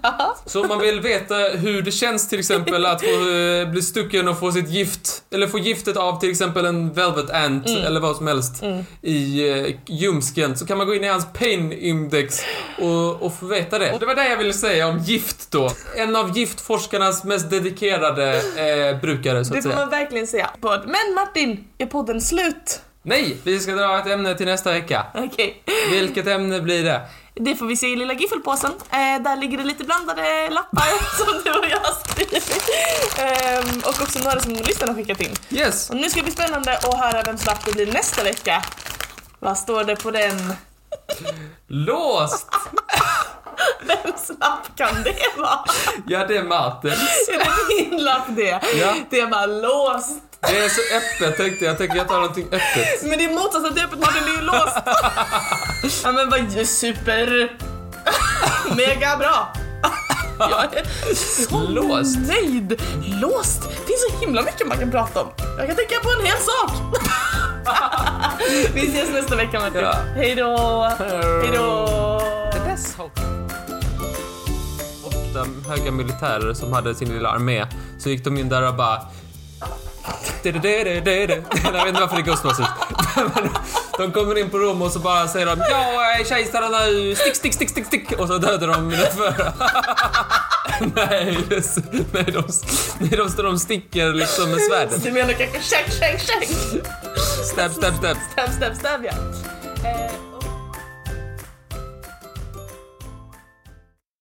Speaker 1: Ja.
Speaker 2: Så om man vill veta hur det känns till exempel att få, eh, bli stucken och få sitt gift, eller få giftet av till exempel en velvet ant eller vad som helst i eh, ljumsken så kan man gå in i hans pain index och, och få veta det. Och det var det jag ville säga om gift då. En av giftforskarnas mest dedikerade eh, brukare så
Speaker 1: Det
Speaker 2: att
Speaker 1: får
Speaker 2: säga.
Speaker 1: man verkligen säga. Men Martin, är podden slut?
Speaker 2: Nej! Vi ska dra ett ämne till nästa vecka.
Speaker 1: Okej.
Speaker 2: Vilket ämne blir det?
Speaker 1: Det får vi se i lilla giffelpåsen. Eh, där ligger det lite blandade lappar *laughs* som du och jag har skrivit. Ehm, och också några som lyssnarna har skickat in.
Speaker 2: Yes!
Speaker 1: Och nu ska det bli spännande att höra vems lapp det blir nästa vecka. Vad står det på den? *laughs*
Speaker 2: Låst!
Speaker 1: Vems lapp kan det vara?
Speaker 2: Ja, det är Martin.
Speaker 1: Är det min lapp det?
Speaker 2: Ja.
Speaker 1: Det är bara låst.
Speaker 2: Det är så öppet tänkte jag. Jag tänker jag tar någonting öppet.
Speaker 1: Men det är motsatsen till öppet Martin, det är ju låst. ja men vad ju super... *laughs* Mega bra. *laughs* Jag är så
Speaker 2: Låst.
Speaker 1: nöjd. Låst. Det finns så himla mycket man kan prata om. Jag kan tänka på en hel sak. *laughs* Vi ses nästa vecka Martin.
Speaker 2: Ja.
Speaker 1: Hej då. Hej då.
Speaker 2: dess Ofta höga militärer som hade sin lilla armé, så gick de in där och *laughs* bara... Jag vet inte varför det är Ghostbusters. Men *laughs* De kommer in på Rom och så bara säger de ja, jag är kejsaren nu, stick, stick, stick, stick, stick. Och så dödar de mina förra. *laughs* nej, just, nej, de, nej, de står de sticker liksom med svärdet.
Speaker 1: Du menar kanske tjäng, tjäng, tjäng?
Speaker 2: Stab, stab, stab.
Speaker 1: Stab, stab, stab ja. Eh,